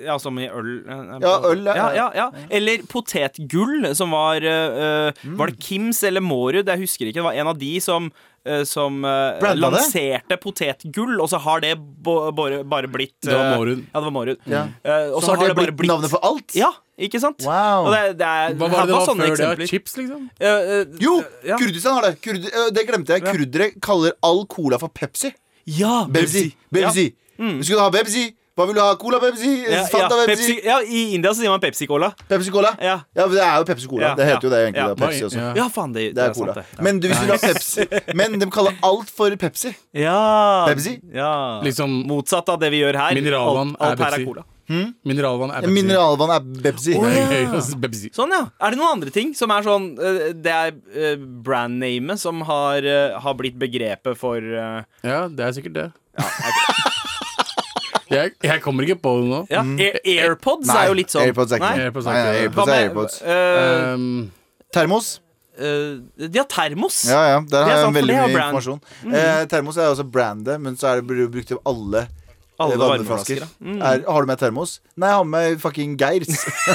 Speaker 4: ja, som i øl. eh,
Speaker 2: Ja,
Speaker 4: på-
Speaker 2: øl, ja,
Speaker 4: ja, ja,
Speaker 2: ja.
Speaker 4: ja. Eller potetgull, som var eh, eh,
Speaker 2: Mm.
Speaker 4: Var det Kims eller Mårud? Jeg husker ikke. Det var en av de som eh, som eh,
Speaker 2: Branda det?
Speaker 4: lanserte potetgull, og så har det bo- bare, bare blitt
Speaker 3: Det var
Speaker 4: eh,
Speaker 3: Mårud.
Speaker 4: Ja, det var Mårud.
Speaker 2: Ja.
Speaker 4: Eh, og
Speaker 2: Og så har det blitt navnet for alt?
Speaker 4: Ja, ikke sant?
Speaker 2: Wow.
Speaker 4: Og det, det er,
Speaker 3: Hva var det det var
Speaker 4: sånne
Speaker 3: før det?
Speaker 4: eksempler.
Speaker 3: Chips, liksom?
Speaker 4: Eh, eh,
Speaker 2: Jo!
Speaker 4: ja.
Speaker 2: Kurdistan har det. Kurd, ø, det glemte jeg. Kurdere kaller all cola for Pepsi.
Speaker 4: ja,
Speaker 2: Bebsi. Bebsi. Skulle du ha Bebsi? Hva vil du ha? Cola Bebsi?
Speaker 4: Mm. Ja, ja,
Speaker 2: Fanta
Speaker 4: Pepsi,
Speaker 2: Bebsi?
Speaker 4: ja, I India så sier man Pepsi Cola.
Speaker 2: Pepsi Cola?
Speaker 4: Ja.
Speaker 2: men det er jo Pepsi Cola.
Speaker 4: Ja,
Speaker 2: Det heter
Speaker 4: ja,
Speaker 2: jo det egentlig.
Speaker 4: ja.
Speaker 2: Det er Pepsi også.
Speaker 3: Ja.
Speaker 4: Ja, faen, det,
Speaker 2: Det er
Speaker 4: sant,
Speaker 2: cola.
Speaker 4: det. Ja.
Speaker 2: Men du, hvis du vil ha Pepsi Men de kaller alt for Pepsi.
Speaker 4: Ja.
Speaker 2: Pepsi?
Speaker 4: Ja.
Speaker 3: Liksom-
Speaker 4: Motsatt av det vi gjør her.
Speaker 3: Mineralvann
Speaker 4: alt, alt
Speaker 3: er
Speaker 4: her
Speaker 3: Pepsi.
Speaker 4: er cola.
Speaker 3: Mineralvann er
Speaker 2: Mineralvann er Pepsi.
Speaker 3: Pepsi.
Speaker 4: Sånn, ja. Er det noen andre ting som er sånn eh, Det er eh, brandnamet som har, eh, har blitt begrepet for eh,
Speaker 3: Ja, det er sikkert det. *laughs* jeg, jeg kommer ikke på det nå.
Speaker 4: Ja, Air- AirPods er jo litt sånn.
Speaker 2: Mm. AirPods er ikke
Speaker 4: Nei.
Speaker 2: det.
Speaker 3: AirPods er
Speaker 2: Nei, nei, AirPods
Speaker 3: ikke det.
Speaker 4: Hva
Speaker 2: er
Speaker 4: med-
Speaker 2: AirPods.
Speaker 4: eh,
Speaker 3: Um,
Speaker 2: Termos.
Speaker 4: eh, de har termos.
Speaker 2: Ja, ja. Der har jeg
Speaker 4: sant, for
Speaker 2: veldig
Speaker 4: det er
Speaker 2: mye
Speaker 4: brand. Mm.
Speaker 2: informasjon. Eh, termos er også brandet, men så er det blir det brukt av alle.
Speaker 4: Alle
Speaker 2: eh,
Speaker 4: varmeflasker,
Speaker 2: varmeflasker. Er, har du med termos? Nei, jeg har med fucking Geirs. *laughs*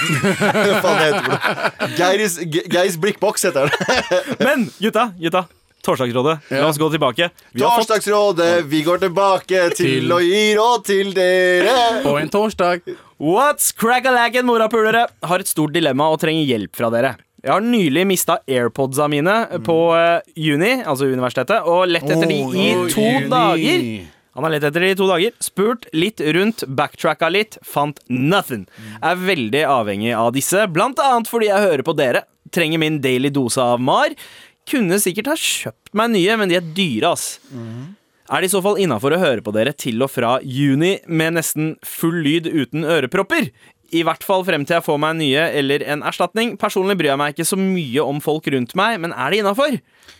Speaker 2: Hva faen heter det? Geirs, Ge- Geirs blikkboks heter det.
Speaker 4: Men gutta, gutta Torsdagsrådet, la oss gå tilbake. Vi har fått
Speaker 2: Torsdagsrådet, vi går tilbake til å gi råd til dere.
Speaker 3: På en torsdag.
Speaker 4: What's crack-a-laggen, morapulere? Har et stort dilemma og trenger hjelp fra dere. Jeg har nylig mista airpodsa mine på eh, Uni, altså universitetet, og lett etter de i
Speaker 3: Oi,
Speaker 4: to
Speaker 3: Uni.
Speaker 4: dager. Han har lett etter de i to dager, spurt litt rundt, backtracka litt, fant nothing. Er veldig avhengig av disse, blant annet fordi jeg hører på dere. Trenger min daily dose av MAR. Kunne sikkert ha kjøpt meg nye, men de er dyre, ass. Er det i så fall innafor å høre på dere til og fra juni med nesten full lyd uten ørepropper? I hvert fall frem til jeg får meg nye eller en erstatning. Personlig bryr jeg meg ikke så mye om folk rundt meg, men er det innafor?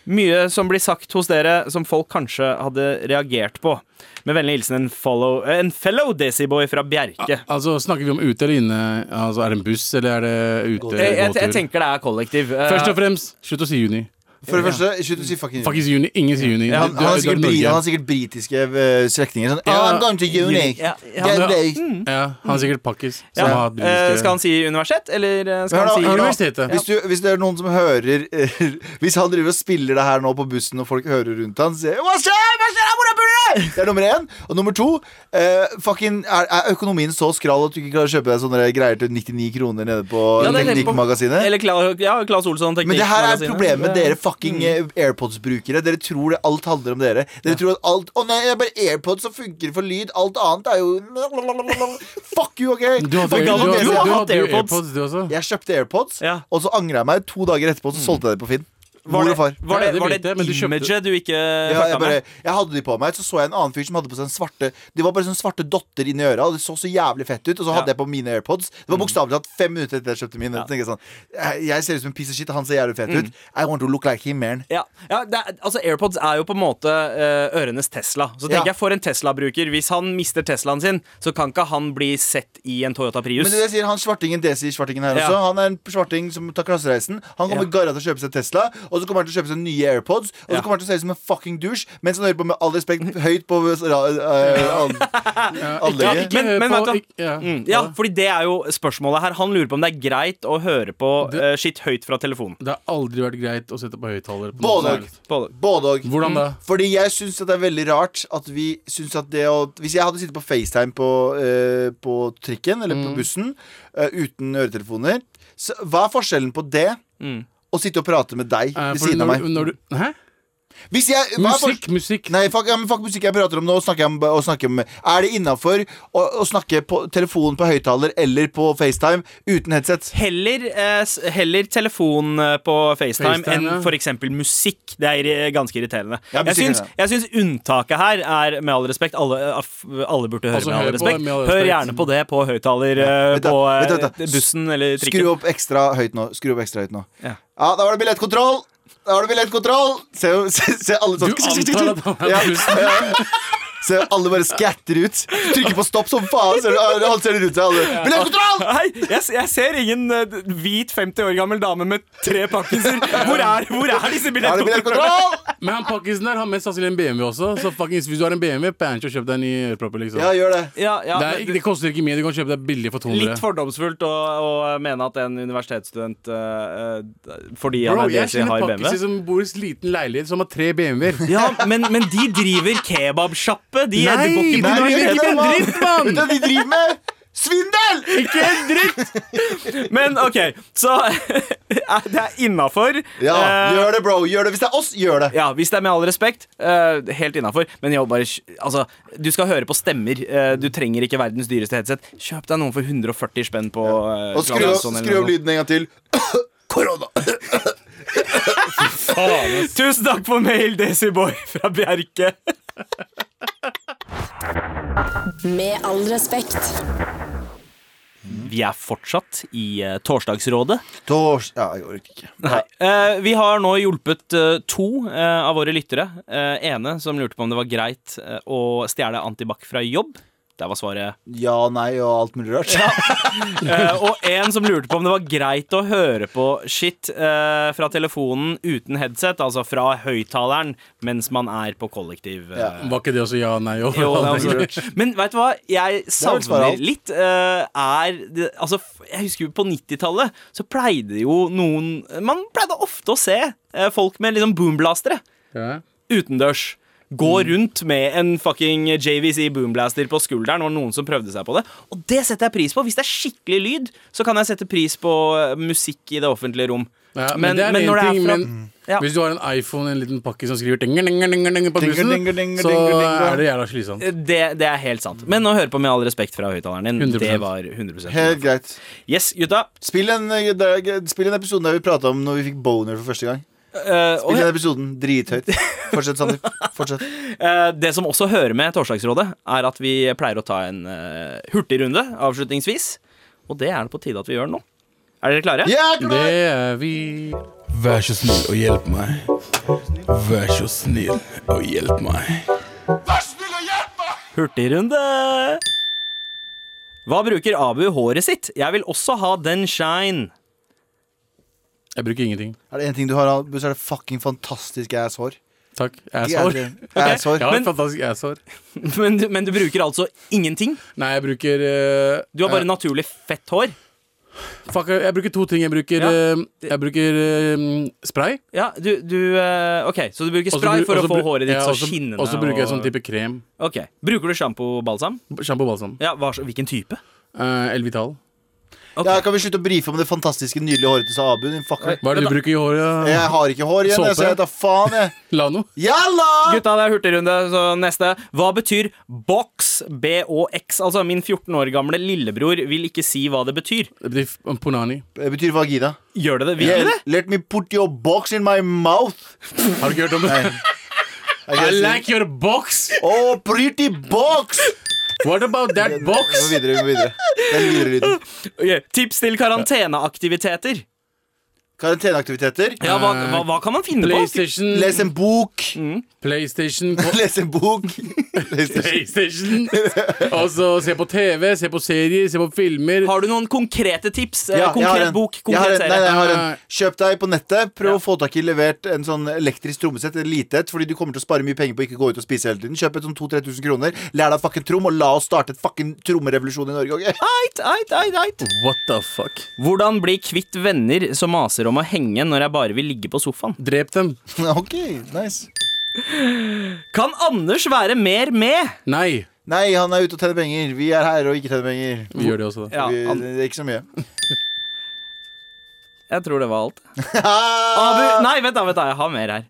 Speaker 4: Mye som blir sagt hos dere som folk kanskje hadde reagert på. Med vennlig hilsen en, follow, eh, en fellow Desiboy fra Bjerke.
Speaker 2: Ah,
Speaker 3: Altså, snakker vi om ute eller inne? Altså, Er det en buss, eller er
Speaker 2: ah,
Speaker 3: det ute?
Speaker 4: Jeg, jeg, jeg
Speaker 3: gåtur?
Speaker 4: tenker det er kollektiv. Eh,
Speaker 3: Først og fremst, slutt å si juni.
Speaker 2: For det første, slutt å si fucking
Speaker 3: Faktisk juni. Ingen sier juni.
Speaker 2: han,
Speaker 3: Du- du-
Speaker 2: han, har
Speaker 3: du er
Speaker 2: sikkert
Speaker 3: Norge.
Speaker 2: bri, han har sikkert britiske eh, slektninger. Sånn,
Speaker 3: Ja.
Speaker 2: «Ah, I'm going to uni.
Speaker 4: Ja, ja.
Speaker 2: Get
Speaker 3: Ja, Mm.
Speaker 2: ready».
Speaker 3: ja, han er sikkert pakkis.
Speaker 4: ja.
Speaker 3: Som har hatt
Speaker 4: Eh,
Speaker 3: britiske-
Speaker 4: skal han si universitet, eller eh, skal
Speaker 2: Hør da,
Speaker 4: han
Speaker 2: hør
Speaker 4: si
Speaker 2: da.
Speaker 3: Universitetet.
Speaker 2: Hvis, du, hvis det er noen som hører *laughs* Hvis han driver og spiller det her nå på bussen, og folk hører rundt han sier Hva skjer? Hva skjer? Hvor er bulen? Det er nummer én. Og nummer to eh, fucking, er, er økonomien så skral at du ikke klarer å kjøpe deg sånne greier til 99 kroner nede på
Speaker 4: Ja, det er nede på-
Speaker 2: Teknikkmagasinet?
Speaker 4: Eller Kla- ja, Claes Olsson,
Speaker 2: Men det her er
Speaker 4: Teknikkmagasinet. Mm.
Speaker 2: problemet med
Speaker 4: Det-
Speaker 2: dere fucking eh, AirPods-brukere. Dere tror det alt handler om dere. Dere tror at alt Å nei, det er bare AirPods som funker for lyd. Alt annet er jo Fuck you, OK?
Speaker 3: Du hadde,
Speaker 2: Fuck you,
Speaker 3: du, hadde,
Speaker 2: ok?
Speaker 4: du
Speaker 3: du,
Speaker 4: har
Speaker 3: hadde,
Speaker 4: hatt
Speaker 3: jo
Speaker 4: AirPods.
Speaker 3: AirPods, du også.
Speaker 2: Jeg kjøpte AirPods,
Speaker 4: Ja.
Speaker 2: og så angra jeg meg to dager etterpå, så solgte jeg dem på Finn.
Speaker 4: Var
Speaker 2: Mor
Speaker 4: det,
Speaker 2: og far.
Speaker 4: var
Speaker 3: Ja,
Speaker 4: det,
Speaker 3: det
Speaker 4: var det
Speaker 3: vet jeg, men du kjøpte-
Speaker 4: imaget du ikke
Speaker 2: Ja, jeg,
Speaker 4: fucka
Speaker 2: bare,
Speaker 4: med?
Speaker 2: jeg hadde de på meg, så så jeg en annen fyr som hadde på seg en svarte De var bare sånne svarte dotter inni øra, og det så så jævlig fett ut. Og så hadde
Speaker 4: Ja.
Speaker 2: jeg
Speaker 4: Mm.
Speaker 2: på mine AirPods. Det var bokstavelig talt fem minutter etter jeg kjøpte mine. Så tenkte Jeg, sånn, jeg, jeg ser ut som en piece of shit, og han ser jævlig fett
Speaker 4: Mm.
Speaker 2: ut. I want to look like him, man.
Speaker 4: Ja, ja det, er- altså AirPods er jo på en måte eh, ørenes Tesla. Så tenker
Speaker 2: Ja.
Speaker 4: jeg for en Tesla-bruker Hvis han mister Teslaen sin, så kan ikke han bli sett i en Toyota Prius.
Speaker 2: Men det jeg sier, han svartingen Desi-svartingen her
Speaker 4: Ja.
Speaker 2: også, han er en svarting som tar klassereisen. Han kommer
Speaker 4: Ja.
Speaker 2: garra til å kjøpe seg Tesla, og så kommer han til å kjøpe seg nye AirPods, og
Speaker 4: Ja.
Speaker 2: så kommer han til å se ut som en fucking douche mens han hører på med all respekt høyt på eh,
Speaker 4: *laughs*
Speaker 2: an- anlegget.
Speaker 4: Men- men
Speaker 3: Hør på-
Speaker 4: vet
Speaker 3: ikke- ja.
Speaker 4: Mm, ja, fordi det er jo spørsmålet her. Han lurer på om det er greit å høre på
Speaker 3: Det-
Speaker 4: eh, skitt høyt fra telefonen.
Speaker 3: Det har aldri vært greit å sette på høyttaler. på noe
Speaker 2: Både
Speaker 3: som
Speaker 2: og.
Speaker 3: helst.
Speaker 4: Både-
Speaker 2: Både og.
Speaker 3: Hvordan da?
Speaker 2: Fordi jeg syns det er veldig rart at vi syns at det å Hvis jeg hadde sittet på FaceTime på, eh, på trikken eller på bussen eh, uten øretelefoner, så hva er forskjellen på det og sitte og prate med deg
Speaker 3: Eh,
Speaker 2: ved
Speaker 3: fordi
Speaker 2: siden av
Speaker 3: når,
Speaker 2: meg?
Speaker 3: du- når du, hæ?
Speaker 2: Hvis jeg, hva er for-
Speaker 3: Musikk, musikk.
Speaker 2: Nei, fuck, ja, men fuck musikk jeg prater om nå. Snakker jeg om, og snakker om er det innafor å, å snakke på telefonen på høyttaler eller på FaceTime uten headset?
Speaker 4: Heller, eh, s- heller telefon eh, på FaceTime,
Speaker 3: FaceTime,
Speaker 4: enn
Speaker 3: ja.
Speaker 4: for eksempel musikk. Det er eh, ganske irriterende.
Speaker 2: Ja,
Speaker 4: jeg,
Speaker 2: musikken,
Speaker 4: syns,
Speaker 2: ja.
Speaker 4: jeg syns unntaket her er med all respekt. Alle, eh, f- alle burde høre
Speaker 3: Altså,
Speaker 4: med all
Speaker 3: hør på
Speaker 4: respekt.
Speaker 3: med all
Speaker 4: Hør
Speaker 3: respekt.
Speaker 4: gjerne på det på høyttaler eh,
Speaker 2: Vent da,
Speaker 4: på eh,
Speaker 2: vent da, vent da.
Speaker 4: bussen eller
Speaker 2: Skru
Speaker 4: trikken.
Speaker 2: opp ekstra høyt nå. Skru opp ekstra høyt nå.
Speaker 4: Ja. *laughs*
Speaker 2: Ja, da var det billettkontroll! Da var det billettkontroll! Se, se, se alle
Speaker 3: Du
Speaker 2: sånn
Speaker 3: antar at
Speaker 2: *laughs*
Speaker 3: han
Speaker 2: Ja.
Speaker 3: er bussen.
Speaker 2: Se, alle bare scatter ut. Trykker på stopp som faen. Ser du, han ser rundt seg, alle. Billettkontroll!
Speaker 4: Hei, jeg, s- jeg ser ingen eh, hvit 50 år gammel dame med tre pakkiser. Hvor er, hvor er disse
Speaker 2: Er det
Speaker 4: billettene?
Speaker 2: billettkontroll?
Speaker 3: Men han pakkisen der har mest sannsynlig en BMW også. Så fucking, hvis du har en BMW, pæren ikke å kjøpe deg en ny ørepropper. Liksom.
Speaker 2: Ja, gjør det.
Speaker 4: Ja, ja,
Speaker 3: det, er, ikke-
Speaker 4: men-
Speaker 3: det koster ikke mye. Du kan kjøpe deg billig for 200.
Speaker 4: Litt fordomsfullt å, å mene at en universitetsstudent eh, eh, Fordi han
Speaker 3: Bro,
Speaker 4: er
Speaker 3: jeg
Speaker 4: desi,
Speaker 3: kjenner
Speaker 4: har BMW.
Speaker 3: pakkiser som bor i en liten leilighet, som har tre BMW-er.
Speaker 4: Ja, men, men de driver kebabsjappe. De
Speaker 3: Nei,
Speaker 4: de går ikke-
Speaker 3: nei,
Speaker 2: Nei,
Speaker 3: driver
Speaker 2: vet
Speaker 3: ikke
Speaker 2: du
Speaker 3: med
Speaker 2: hva?
Speaker 3: dritt, mann!
Speaker 2: Vet du hva de driver med? Svindel!
Speaker 3: Ikke en dritt!
Speaker 4: Men OK, så *laughs* er det er innafor. Eh,
Speaker 2: Ja,
Speaker 3: Eh.
Speaker 2: gjør det, bro. Gjør det. Hvis det er oss, gjør det.
Speaker 4: Ja, Hvis det er med all respekt, eh, helt innafor. Men jeg bare, altså, du skal høre på stemmer. Eh, du trenger ikke verdens dyreste headset. Kjøp deg noen for 140 spenn på eh,
Speaker 2: Og skru,
Speaker 4: Claes
Speaker 2: opp-
Speaker 4: Olsson
Speaker 3: sånn
Speaker 4: eller
Speaker 2: skru
Speaker 4: noe
Speaker 2: opp lyden en gang til. *coughs* Korona.
Speaker 4: sånt. Tusen takk for mail, Desiboy fra Bjerke.
Speaker 1: Med all respekt.
Speaker 4: Vi er fortsatt i eh, Torsdagsrådet.
Speaker 2: Tors... Ja, jeg orker ikke.
Speaker 4: Nei. Eh, vi har nå hjulpet eh, to eh, av våre lyttere. Eh, ene som lurte på om det var greit eh, å stjele antibac fra jobb. Der var svaret.
Speaker 2: Ja, nei og alt mulig rart.
Speaker 4: Eh, og en som lurte på om det var greit å høre på shit eh, fra telefonen uten headset, altså fra høyttaleren, mens man er på kollektiv. eh,
Speaker 2: Ja.
Speaker 3: Var ikke det også ja og nei? og-
Speaker 4: jo, *laughs* det
Speaker 3: *laughs*
Speaker 4: er også lurt. Men vet du hva? Jeg
Speaker 2: vel svaret
Speaker 4: savner
Speaker 2: alt.
Speaker 4: litt eh, Er det, Altså, f- jeg husker jo på 90-tallet så pleide jo noen Man pleide ofte å se eh, folk med liksom boomblastere.
Speaker 3: Ja.
Speaker 4: utendørs. Gå
Speaker 3: Mm.
Speaker 4: rundt med en fucking JVC boomblaster på skulderen og noen som prøvde seg på det. Og det setter jeg pris på. Hvis det er skikkelig lyd, så kan jeg sette pris på eh, musikk i det offentlige rom.
Speaker 3: Ja, men, det er en
Speaker 4: når det er
Speaker 3: ting,
Speaker 4: fra- Mm.
Speaker 3: men
Speaker 4: Ja.
Speaker 3: hvis du har en iPhone, en liten pakke som skriver dinger, dinger, dinger, dinger på
Speaker 2: Dinger,
Speaker 3: bussen,
Speaker 2: dinger, dinger,
Speaker 3: så
Speaker 2: dinger, dinger.
Speaker 3: er det jævla slitsomt.
Speaker 4: det, det er helt sant. Men å høre på med all respekt fra høyttaleren din,
Speaker 3: 100%.
Speaker 4: det var 100
Speaker 2: Helt greit.
Speaker 4: Yes, gutta.
Speaker 2: Spill en, eh, der- spill en episode der vi prata om når vi fikk boner for første gang.
Speaker 4: Eh, og
Speaker 2: Spill den episoden drithøyt. Fortsett, Sander. Fortsett.
Speaker 4: Eh, Det som også hører med Torsdagsrådet, er at vi pleier å ta en eh, hurtigrunde avslutningsvis. Og det er det på tide at vi gjør nå. Er dere klare?
Speaker 2: Ja,
Speaker 3: Det
Speaker 2: klar!
Speaker 3: er vi
Speaker 6: Vær så snill og hjelp meg. Vær så snill og hjelp meg.
Speaker 4: Hurtigrunde! Hva bruker Abu håret sitt? Jeg vil også ha den shine. *laughs*
Speaker 3: Jeg bruker ingenting.
Speaker 2: Er det én ting du har, Abu, så er det fucking fantastisk ass-hår.
Speaker 3: Takk. Asshår.
Speaker 2: *laughs* Ass-hår.
Speaker 3: Jeg har
Speaker 4: Men-
Speaker 3: et fantastisk asshår.
Speaker 4: Men, du- men du bruker altså ingenting.
Speaker 3: Nei, jeg bruker eh,
Speaker 4: Du har
Speaker 3: eh,
Speaker 4: bare naturlig fett hår.
Speaker 3: Fuck, jeg bruker to ting. Jeg bruker,
Speaker 4: Ja.
Speaker 3: eh, jeg bruker eh, spray.
Speaker 4: Ja, du, du eh, OK, så du bruker
Speaker 3: og så
Speaker 4: spray
Speaker 3: bru-
Speaker 4: for
Speaker 3: og så
Speaker 4: å få
Speaker 3: bru-
Speaker 4: håret ditt
Speaker 3: ja,
Speaker 4: så
Speaker 3: og
Speaker 4: skinnende.
Speaker 3: Og så bruker jeg
Speaker 4: og-
Speaker 3: sånn type krem.
Speaker 4: Ok, Bruker du sjampo og balsam?
Speaker 3: Sjampo og balsam.
Speaker 4: Ja, hva, så- hvilken type?
Speaker 3: Eh, Elvital.
Speaker 4: Ok.
Speaker 2: Ja, kan vi slutte å brife om det fantastiske, nydelige håret til Sabu? Din fucker.
Speaker 3: Hva er det du bruker i håret?
Speaker 2: Jeg har ikke hår igjen, jeg, så
Speaker 3: Såpe.
Speaker 2: jeg tar faen, jeg.
Speaker 3: Lano?
Speaker 2: Jalla!
Speaker 4: Gutta, det er hurtigrunde, så neste. Hva betyr box? B-O-X. Altså, min 14 år gamle lillebror vil ikke si hva det betyr.
Speaker 3: Det betyr f- Punani.
Speaker 2: Det betyr vagina.
Speaker 4: Gjør det det? Vil det det?
Speaker 2: Let me put your box in my mouth.
Speaker 3: Har du ikke hørt om det?
Speaker 2: Er ikke
Speaker 3: I
Speaker 2: det jeg sier?
Speaker 3: like your box!
Speaker 2: Oh, pretty box!
Speaker 3: What about that
Speaker 2: Vi må
Speaker 3: box?
Speaker 2: videre. vi må videre Den videre
Speaker 3: *laughs*
Speaker 2: lyden.
Speaker 4: Ok, Tips til karanteneaktiviteter.
Speaker 2: Karanteneaktiviteter.
Speaker 4: Ja, hva, hva, hva kan man finne på?
Speaker 3: Eh, PlayStation
Speaker 2: Les en bok.
Speaker 3: Mm. PlayStation ko-
Speaker 2: *laughs* Les en bok. Les en-
Speaker 3: *laughs* PlayStation! Og så Altså, se på TV, se på serier, se på filmer.
Speaker 4: Har du noen konkrete tips? Eh,
Speaker 2: Ja, jeg har
Speaker 4: konkret
Speaker 2: en.
Speaker 4: bok,
Speaker 2: Jeg har
Speaker 4: konkret
Speaker 2: en. Nei, nei,
Speaker 4: serie?
Speaker 2: jeg har
Speaker 3: Nei.
Speaker 2: en. Kjøp deg på nettet. Prøv å få tak i levert en sånn elektrisk trommesett. En lite et, fordi du kommer til å spare mye penger på å ikke gå ut og spise hele tiden. Kjøp et sånn 2000-3000 kroner. Lær deg fucking trom, og la oss starte et fucking trommerevolusjon i Norge. ok?
Speaker 4: Eit, eit, eit, eit.
Speaker 3: What the fuck?
Speaker 4: Hvordan bli kvitt venner som maser om å henge når jeg bare vil ligge på sofaen?
Speaker 3: Drep dem. *laughs*
Speaker 2: OK, nice.
Speaker 4: Kan Anders være mer med?
Speaker 3: Nei.
Speaker 2: Nei, han er ute og tjener penger. Vi er her og ikke tjener penger.
Speaker 3: Vi gjør det også, da.
Speaker 4: Ja,
Speaker 2: Vi,
Speaker 4: An-
Speaker 2: det er ikke så mye.
Speaker 4: Jeg tror det var
Speaker 2: *laughs*
Speaker 4: alt. Abu Nei, vent da, vent da, jeg har mer her.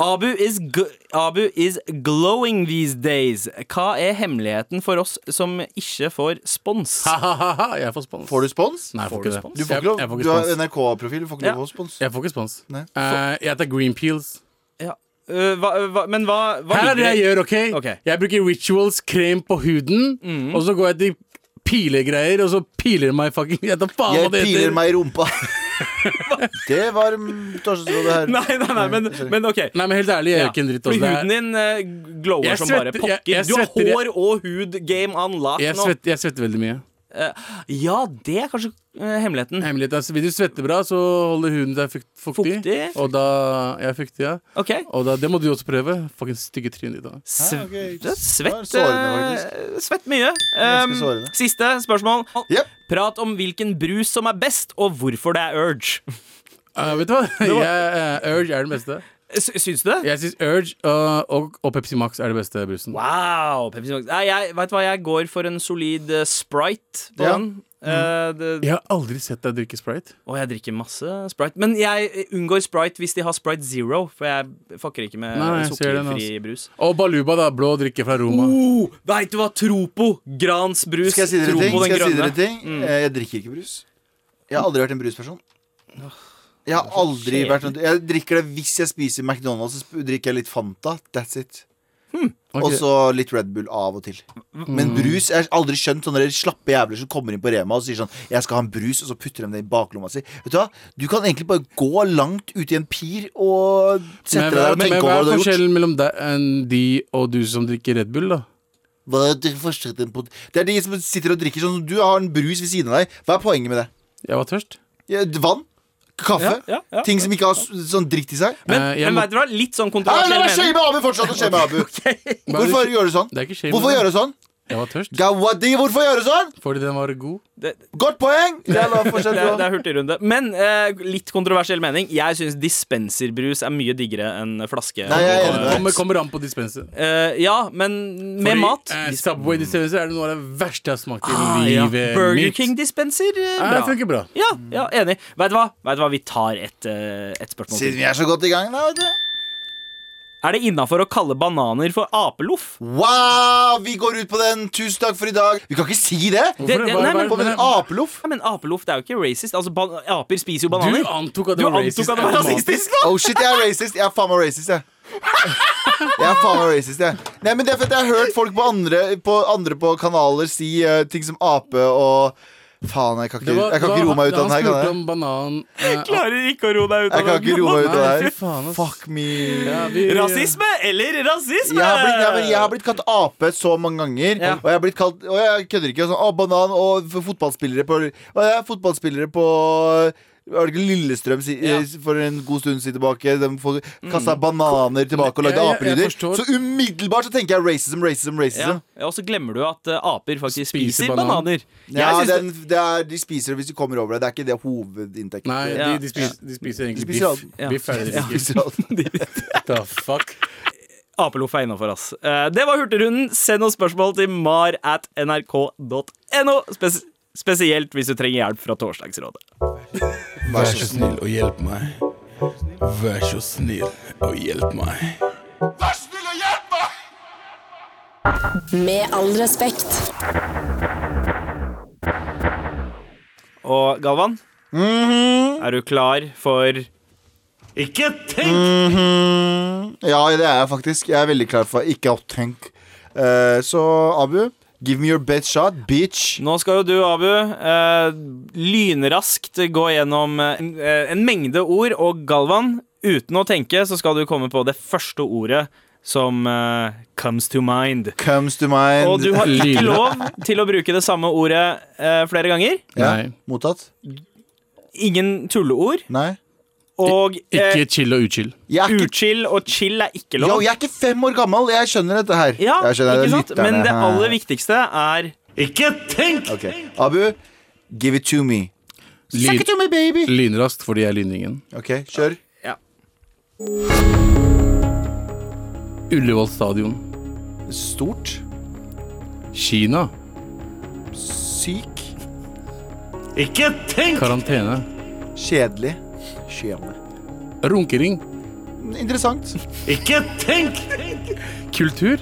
Speaker 4: Abu is, gl- Abu is glowing these days. Hva er hemmeligheten for oss som ikke får spons?
Speaker 3: Ha-ha-ha, jeg får spons.
Speaker 2: Får du spons?
Speaker 3: Nei, jeg får
Speaker 4: Får du
Speaker 3: ikke det.
Speaker 4: spons?
Speaker 2: Du får
Speaker 3: Jeg-
Speaker 2: ikke lov.
Speaker 3: jeg får ikke
Speaker 2: Du har
Speaker 3: spons.
Speaker 2: NRK-profil. Du får ikke
Speaker 4: Ja.
Speaker 2: lov å få spons.
Speaker 3: Jeg får ikke spons.
Speaker 2: Nei.
Speaker 3: Eh, jeg tar green peels.
Speaker 4: Ja. Øh, hva, hva, men hva, hva
Speaker 3: Her er det
Speaker 4: ligger
Speaker 3: jeg
Speaker 4: i-
Speaker 3: gjør, OK?
Speaker 4: Ok.
Speaker 3: Jeg bruker rituals krem på huden,
Speaker 2: Mhm.
Speaker 3: og så går jeg til pilegreier, og så piler meg fucking Jeg tar faen
Speaker 2: Jeg
Speaker 3: hva det
Speaker 2: piler
Speaker 3: heter.
Speaker 2: meg i rumpa.
Speaker 3: *laughs*
Speaker 2: det var mm, Torstensrådet her.
Speaker 4: *laughs* Nei, nei, nei,
Speaker 2: Mm,
Speaker 4: men, men OK.
Speaker 3: Nei, men helt ærlig, jeg gjør
Speaker 4: Ja,
Speaker 3: ikke en dritt.
Speaker 4: Fordi
Speaker 3: altså. Det er-
Speaker 4: huden din øh, glower
Speaker 3: Jeg
Speaker 4: som bare
Speaker 3: svetter- jeg-
Speaker 4: pokker.
Speaker 3: jeg
Speaker 4: du har
Speaker 3: svetter-
Speaker 4: hår og hud game on lock
Speaker 3: Jeg
Speaker 4: nå. Eh,
Speaker 3: svetter, jeg svetter veldig mye.
Speaker 4: Ja, det er kanskje øh, hemmeligheten.
Speaker 3: Hemmeligheten er at altså, Hvis du svetter bra, så holder huden deg fukt, fuktig.
Speaker 4: Fuktig?
Speaker 3: Og da Jeg er fuktig, ja.
Speaker 4: OK.
Speaker 3: Og da, det må du også prøve. Fucking stygge trynet ditt. da.
Speaker 4: Sve-
Speaker 2: ok.
Speaker 4: det er
Speaker 3: eh,
Speaker 4: Svett,
Speaker 2: Det var sårende,
Speaker 4: øh, svett mye.
Speaker 2: Ganske
Speaker 4: Um,
Speaker 2: sårende.
Speaker 4: siste spørsmål.
Speaker 2: Jep.
Speaker 4: Prat om hvilken brus som er best, og hvorfor det er Urge.
Speaker 3: Eh, vet du hva? Jeg, eh, Urge er den beste.
Speaker 4: S syns du det?
Speaker 3: Jeg syns Urge eh, og, og Pepsi Max er det beste brusen.
Speaker 4: Wow! Pepsi Max. Nei, jeg, vet du hva, jeg går for en solid eh, Sprite på
Speaker 2: Ja.
Speaker 4: den.
Speaker 3: Mm.
Speaker 4: Eh, det,
Speaker 3: Jeg har aldri sett deg drikke Sprite.
Speaker 4: og jeg drikker masse Sprite. Men jeg unngår Sprite hvis de har Sprite Zero, for jeg fucker ikke med
Speaker 3: Nei, jeg altså. ser den,
Speaker 4: sukkerfri brus.
Speaker 3: Og Baluba, da. Blå drikke fra Roma.
Speaker 2: Uh,
Speaker 4: Oh, Veit du hva? Tropo! Grans brus.
Speaker 2: Skal jeg si dere
Speaker 4: Tropo
Speaker 2: ting?
Speaker 4: den
Speaker 2: Skal jeg, si dere
Speaker 4: grønne.
Speaker 2: ting?
Speaker 3: Mm.
Speaker 2: Eh, jeg drikker ikke brus. Jeg har aldri vært en brusperson. Jeg har aldri vært en, Jeg drikker det hvis jeg spiser McDonald's, så sp- drikker jeg litt Fanta. That's it.
Speaker 3: Ok. Mm.
Speaker 2: Og så litt Red Bull av og til. Men brus Jeg har aldri skjønt sånne der slappe jævler som kommer inn på Rema og sier sånn 'Jeg skal ha en brus', og så putter de det i baklomma si. Vet du hva? Du kan egentlig bare gå langt ut i en pir og sette
Speaker 3: Men,
Speaker 2: deg der og
Speaker 3: men,
Speaker 2: tenke
Speaker 3: men
Speaker 2: over hva du
Speaker 3: hva er
Speaker 2: har gjort.
Speaker 3: forskjellen mellom deg, enn de og du som drikker Red Bull, da?
Speaker 2: Hva er det forskjellen på- Det er de som sitter og drikker sånn. Du har en brus ved siden av deg. Hva er poenget med det?
Speaker 3: Jeg var tørst.
Speaker 2: Ja, vann, kaffe,
Speaker 4: Ja, ja, ja.
Speaker 2: ting som ikke har s- sånn drikt i seg.
Speaker 4: Men,
Speaker 3: Eh, jeg
Speaker 4: men
Speaker 3: må-
Speaker 4: vet du hva? Litt sånn
Speaker 2: Nei, la
Speaker 4: kontroversiell *laughs*
Speaker 2: meg shame Abu fortsatt! og shame Abu
Speaker 3: Hva er
Speaker 2: Hvorfor
Speaker 3: det-
Speaker 2: gjør du sånn?
Speaker 3: Det er ikke shame,
Speaker 2: Hvorfor
Speaker 3: det.
Speaker 2: gjør du sånn?
Speaker 3: Jeg var tørst.
Speaker 2: Gawadi, hvorfor gjøre sånn?
Speaker 3: Fordi den var god.
Speaker 4: Det,
Speaker 2: Godt
Speaker 4: *laughs*
Speaker 2: poeng! Det er lov for
Speaker 4: det, er- det
Speaker 2: selv
Speaker 4: er hurtigrunde. Men eh, litt kontroversiell mening. Jeg syns dispenserbrus er mye diggere enn flaske.
Speaker 2: Nei, jeg er enig med deg.
Speaker 3: Kommer, kommer an på dispenser.
Speaker 4: Eh, ja, men med
Speaker 3: Fordi,
Speaker 4: mat.
Speaker 3: Eh, Subway dispenser er det noe av det verste jeg har smakt i
Speaker 4: Ah, ja.
Speaker 3: livet.
Speaker 4: Burger
Speaker 3: mitt.
Speaker 4: King-dispenser. eh,
Speaker 3: Nei, det funker bra.
Speaker 4: Ja, ja, enig. Vet du hva? Vet du hva? Vi tar et, eh, et spørsmål
Speaker 2: Siden
Speaker 4: til.
Speaker 2: vi er så godt i gang, da. vet du
Speaker 4: Er det innafor å kalle bananer for apeloff?
Speaker 2: Wow, vi går ut på den. Tusen takk for i dag. Vi kan ikke si det!
Speaker 3: Hvorfor
Speaker 4: Det-
Speaker 3: det-
Speaker 4: det-
Speaker 3: hva-
Speaker 4: nei,
Speaker 3: hva-
Speaker 4: men-
Speaker 2: På med en apeloff.
Speaker 4: Ja, men apeloff det er jo ikke racist. Altså, ban Aper spiser jo
Speaker 3: Du
Speaker 4: bananer.
Speaker 3: antok at
Speaker 4: Du
Speaker 3: det var
Speaker 4: antok
Speaker 3: racist.
Speaker 4: at det var
Speaker 3: automatisk.
Speaker 4: rasistisk, da!
Speaker 2: Oh shit, jeg er racist. Jeg er faen meg racist, jeg. Jeg er faen meg racist, jeg. Nei, men det er fordi jeg har hørt folk på andre på, andre på kanaler si eh, ting som ape og Faen, jeg kan ikke,
Speaker 3: Det var-
Speaker 2: jeg kan
Speaker 3: det
Speaker 2: ikke
Speaker 3: var-
Speaker 2: roe meg ut av den her,
Speaker 3: Han spurte
Speaker 2: kan jeg?
Speaker 3: om banan eh,
Speaker 4: Klarer ikke å roe deg ut
Speaker 2: Jeg kan ikke roe meg ut av
Speaker 3: Nei,
Speaker 2: det
Speaker 3: fy faen,
Speaker 2: her.
Speaker 3: ass.
Speaker 2: Fuck me.
Speaker 3: ja, vi,
Speaker 4: Rasisme eller rasisme?
Speaker 2: Jeg har, blitt, jeg, har- jeg har blitt kalt ape så mange ganger.
Speaker 4: Ja.
Speaker 2: Og jeg har blitt kalt Og jeg kødder ikke. og Sånn, å, banan og f- fotballspillere på Og jeg er fotballspillere på var det ikke Lillestrøm si,
Speaker 4: Ja.
Speaker 2: eh, for en god stund siden tilbake? De folk kasta bananer tilbake og lagde
Speaker 3: Ja, ja, jeg
Speaker 2: apelyder.
Speaker 3: forstår.
Speaker 2: Så umiddelbart så tenker jeg racism, racism,
Speaker 4: Ja.
Speaker 2: racism.
Speaker 4: Ja, og så glemmer du at eh, aper faktisk
Speaker 3: Spiser
Speaker 4: spiser
Speaker 3: banan.
Speaker 4: bananer.
Speaker 2: Ja,
Speaker 4: Jeg synes
Speaker 2: den, det er, de spiser det hvis de kommer over det. Det er ikke det hovedinntekten.
Speaker 3: Nei,
Speaker 4: Ja.
Speaker 3: de, de, spiser, de spiser egentlig
Speaker 2: De spiser
Speaker 3: biff.
Speaker 2: alt.
Speaker 4: Ja.
Speaker 3: Biff er det de
Speaker 2: De
Speaker 3: spiser.
Speaker 2: spiser alt.
Speaker 4: *laughs*
Speaker 3: The fuck?
Speaker 4: Apeloff er innafor, ass. Eh, det var Hurtigrunden. Send oss spørsmål til mar at nrk.no. Spes spesielt hvis du trenger hjelp fra Torsdagsrådet.
Speaker 6: Vær så snill og hjelp meg. Vær så snill og hjelp meg.
Speaker 1: Med all respekt.
Speaker 4: Og Galvan, er du klar for Mhm. Ikke tenk!
Speaker 2: Ja, det er jeg faktisk. Jeg er veldig klar for ikke å tenke. Eh, så Abu, give me your best shot, bitch.
Speaker 4: Nå skal jo du, Abu, eh, lynraskt gå gjennom eh, en mengde ord. Og Galvan, uten å tenke, så skal du komme på det første ordet som eh, comes to mind.
Speaker 2: Comes to mind.
Speaker 4: Og du har ikke
Speaker 3: Lyn.
Speaker 4: lov til å bruke det samme ordet eh, flere ganger.
Speaker 2: ja.
Speaker 3: Nei.
Speaker 2: Mottatt?
Speaker 4: Ingen tulleord.
Speaker 2: Nei.
Speaker 4: Og eh,
Speaker 3: Ikke chill og uchill.
Speaker 2: Jeg er ikke,
Speaker 4: uchill og chill er ikke
Speaker 2: jo,
Speaker 4: lov.
Speaker 2: jeg er ikke fem år gammel. Jeg skjønner dette her.
Speaker 4: Ja,
Speaker 2: jeg skjønner
Speaker 4: ikke sant? Men det
Speaker 2: lytterne.
Speaker 4: aller viktigste er Ikke tenk!
Speaker 2: Ok. Abu, give it to me. Suck it to me, baby.
Speaker 3: Lynraskt fordi jeg er lyningen.
Speaker 2: Ok, kjør.
Speaker 4: Ja.
Speaker 3: Ullevål stadion.
Speaker 2: Stort.
Speaker 3: Kina.
Speaker 2: Syk.
Speaker 4: Ikke tenk!
Speaker 3: Karantene.
Speaker 2: Kjedelig. Kjedelig.
Speaker 3: Runkering.
Speaker 2: Interessant.
Speaker 4: Ikke tenk!
Speaker 3: Kultur.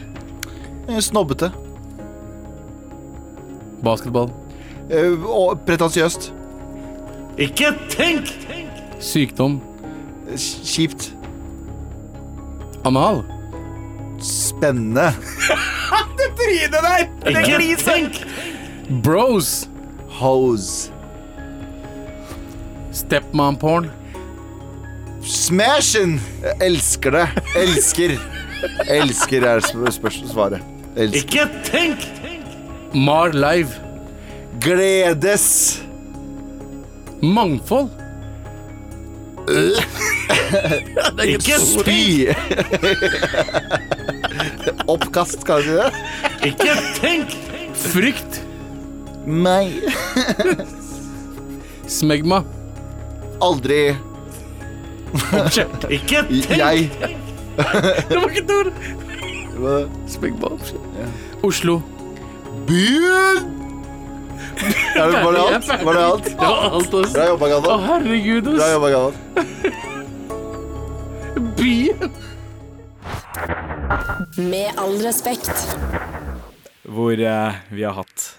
Speaker 2: Eh, Snobbete.
Speaker 3: Basketball.
Speaker 2: Eh, Og pretensiøst.
Speaker 4: Ikke tenk!
Speaker 3: Sykdom.
Speaker 2: Eh, Kjipt.
Speaker 3: Anal.
Speaker 4: *laughs*
Speaker 2: Spennende.
Speaker 4: Trynet der! Det gliset!
Speaker 3: Bros.
Speaker 2: Hose.
Speaker 3: Stepmom-porn.
Speaker 2: Smashin! Jeg Elsker det. Elsker. Elsker er sp- spørs- svaret. Elsker.
Speaker 4: Ikke tenk!
Speaker 3: Mar live.
Speaker 2: Gledes.
Speaker 3: Mangfold.
Speaker 2: Ikke spy! Oppkast, skal jeg si det?
Speaker 4: Ikke tenk!
Speaker 3: Frykt.
Speaker 2: Nei.
Speaker 3: Smegma.
Speaker 2: Aldri
Speaker 4: Ikke
Speaker 2: jeg.
Speaker 3: Det var ikke et ord. Smegma. Oslo.
Speaker 2: *laughs* Byen! Er det, var det alt? Var det alt?
Speaker 3: Det var alt, altså.
Speaker 2: Bra jobba,
Speaker 3: Å,
Speaker 2: Galvan.
Speaker 3: herregud,
Speaker 2: Bra
Speaker 3: ass.
Speaker 2: jobba, Galvan.
Speaker 3: Byen.
Speaker 1: Med all respekt.
Speaker 4: Hvor eh, vi har hatt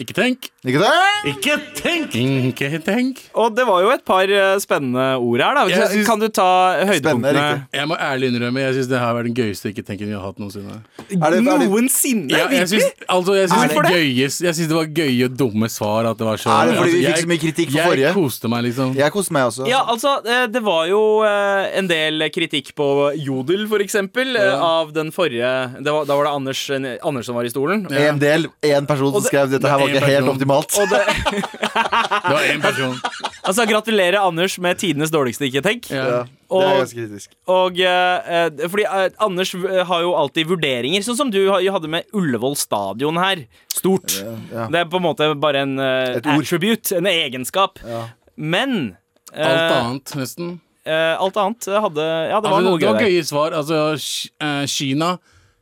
Speaker 3: Ikke tenk.
Speaker 2: Ikke det?
Speaker 4: Ikke tenk!
Speaker 3: Ikke tenk.
Speaker 4: Og det var jo et par eh, spennende ord her, da.
Speaker 3: Jeg
Speaker 4: Så
Speaker 3: synes-
Speaker 4: Kan du ta
Speaker 2: Spennende,
Speaker 4: høydepunktene?
Speaker 2: riktig.
Speaker 3: Jeg må ærlig innrømme, jeg syns det her var den gøyeste ikke tenken vi har hatt noensinne.
Speaker 2: Er det- er det-
Speaker 4: Noensinne?
Speaker 3: Jeg, jeg
Speaker 4: virkelig?
Speaker 3: syns altså, jeg syns
Speaker 4: Hvorfor
Speaker 3: det,
Speaker 4: det?
Speaker 3: gøyest- jeg syns det var gøye og dumme svar. At det var så,
Speaker 2: Er det fordi vi
Speaker 3: altså,
Speaker 2: fikk
Speaker 3: jeg-
Speaker 2: så mye kritikk for forrige?
Speaker 3: Jeg koste meg, liksom.
Speaker 2: Jeg koste meg også.
Speaker 4: Ja, altså, eh, det var jo eh, en del kritikk på Jodel, for eksempel, eh, av den forrige det var, Da var det eh, Anders, Anders som var i stolen. *laughs*
Speaker 2: En del, en person som skrev dette her var
Speaker 3: en
Speaker 2: ikke helt
Speaker 3: person.
Speaker 2: optimalt.
Speaker 3: Det var én
Speaker 2: *laughs*
Speaker 3: person.
Speaker 4: Altså, gratulerer Anders med tidenes dårligste ikke-tenk.
Speaker 3: Ja.
Speaker 2: Ja, det er ganske kritisk.
Speaker 4: Og eh, eh, fordi eh, Anders eh, har jo alltid vurderinger, sånn som du ha- hadde med Ullevål stadion her. Stort.
Speaker 2: ja.
Speaker 4: Det er på en måte bare en eh,
Speaker 2: Et ord.
Speaker 4: attribute, en egenskap. Men eh,
Speaker 3: Alt annet, nesten.
Speaker 4: eh, alt annet hadde Ja, det var
Speaker 3: Altså,
Speaker 4: noe
Speaker 3: det var
Speaker 4: gøy. der.
Speaker 3: gøye svar. Altså, Ki- eh, Kina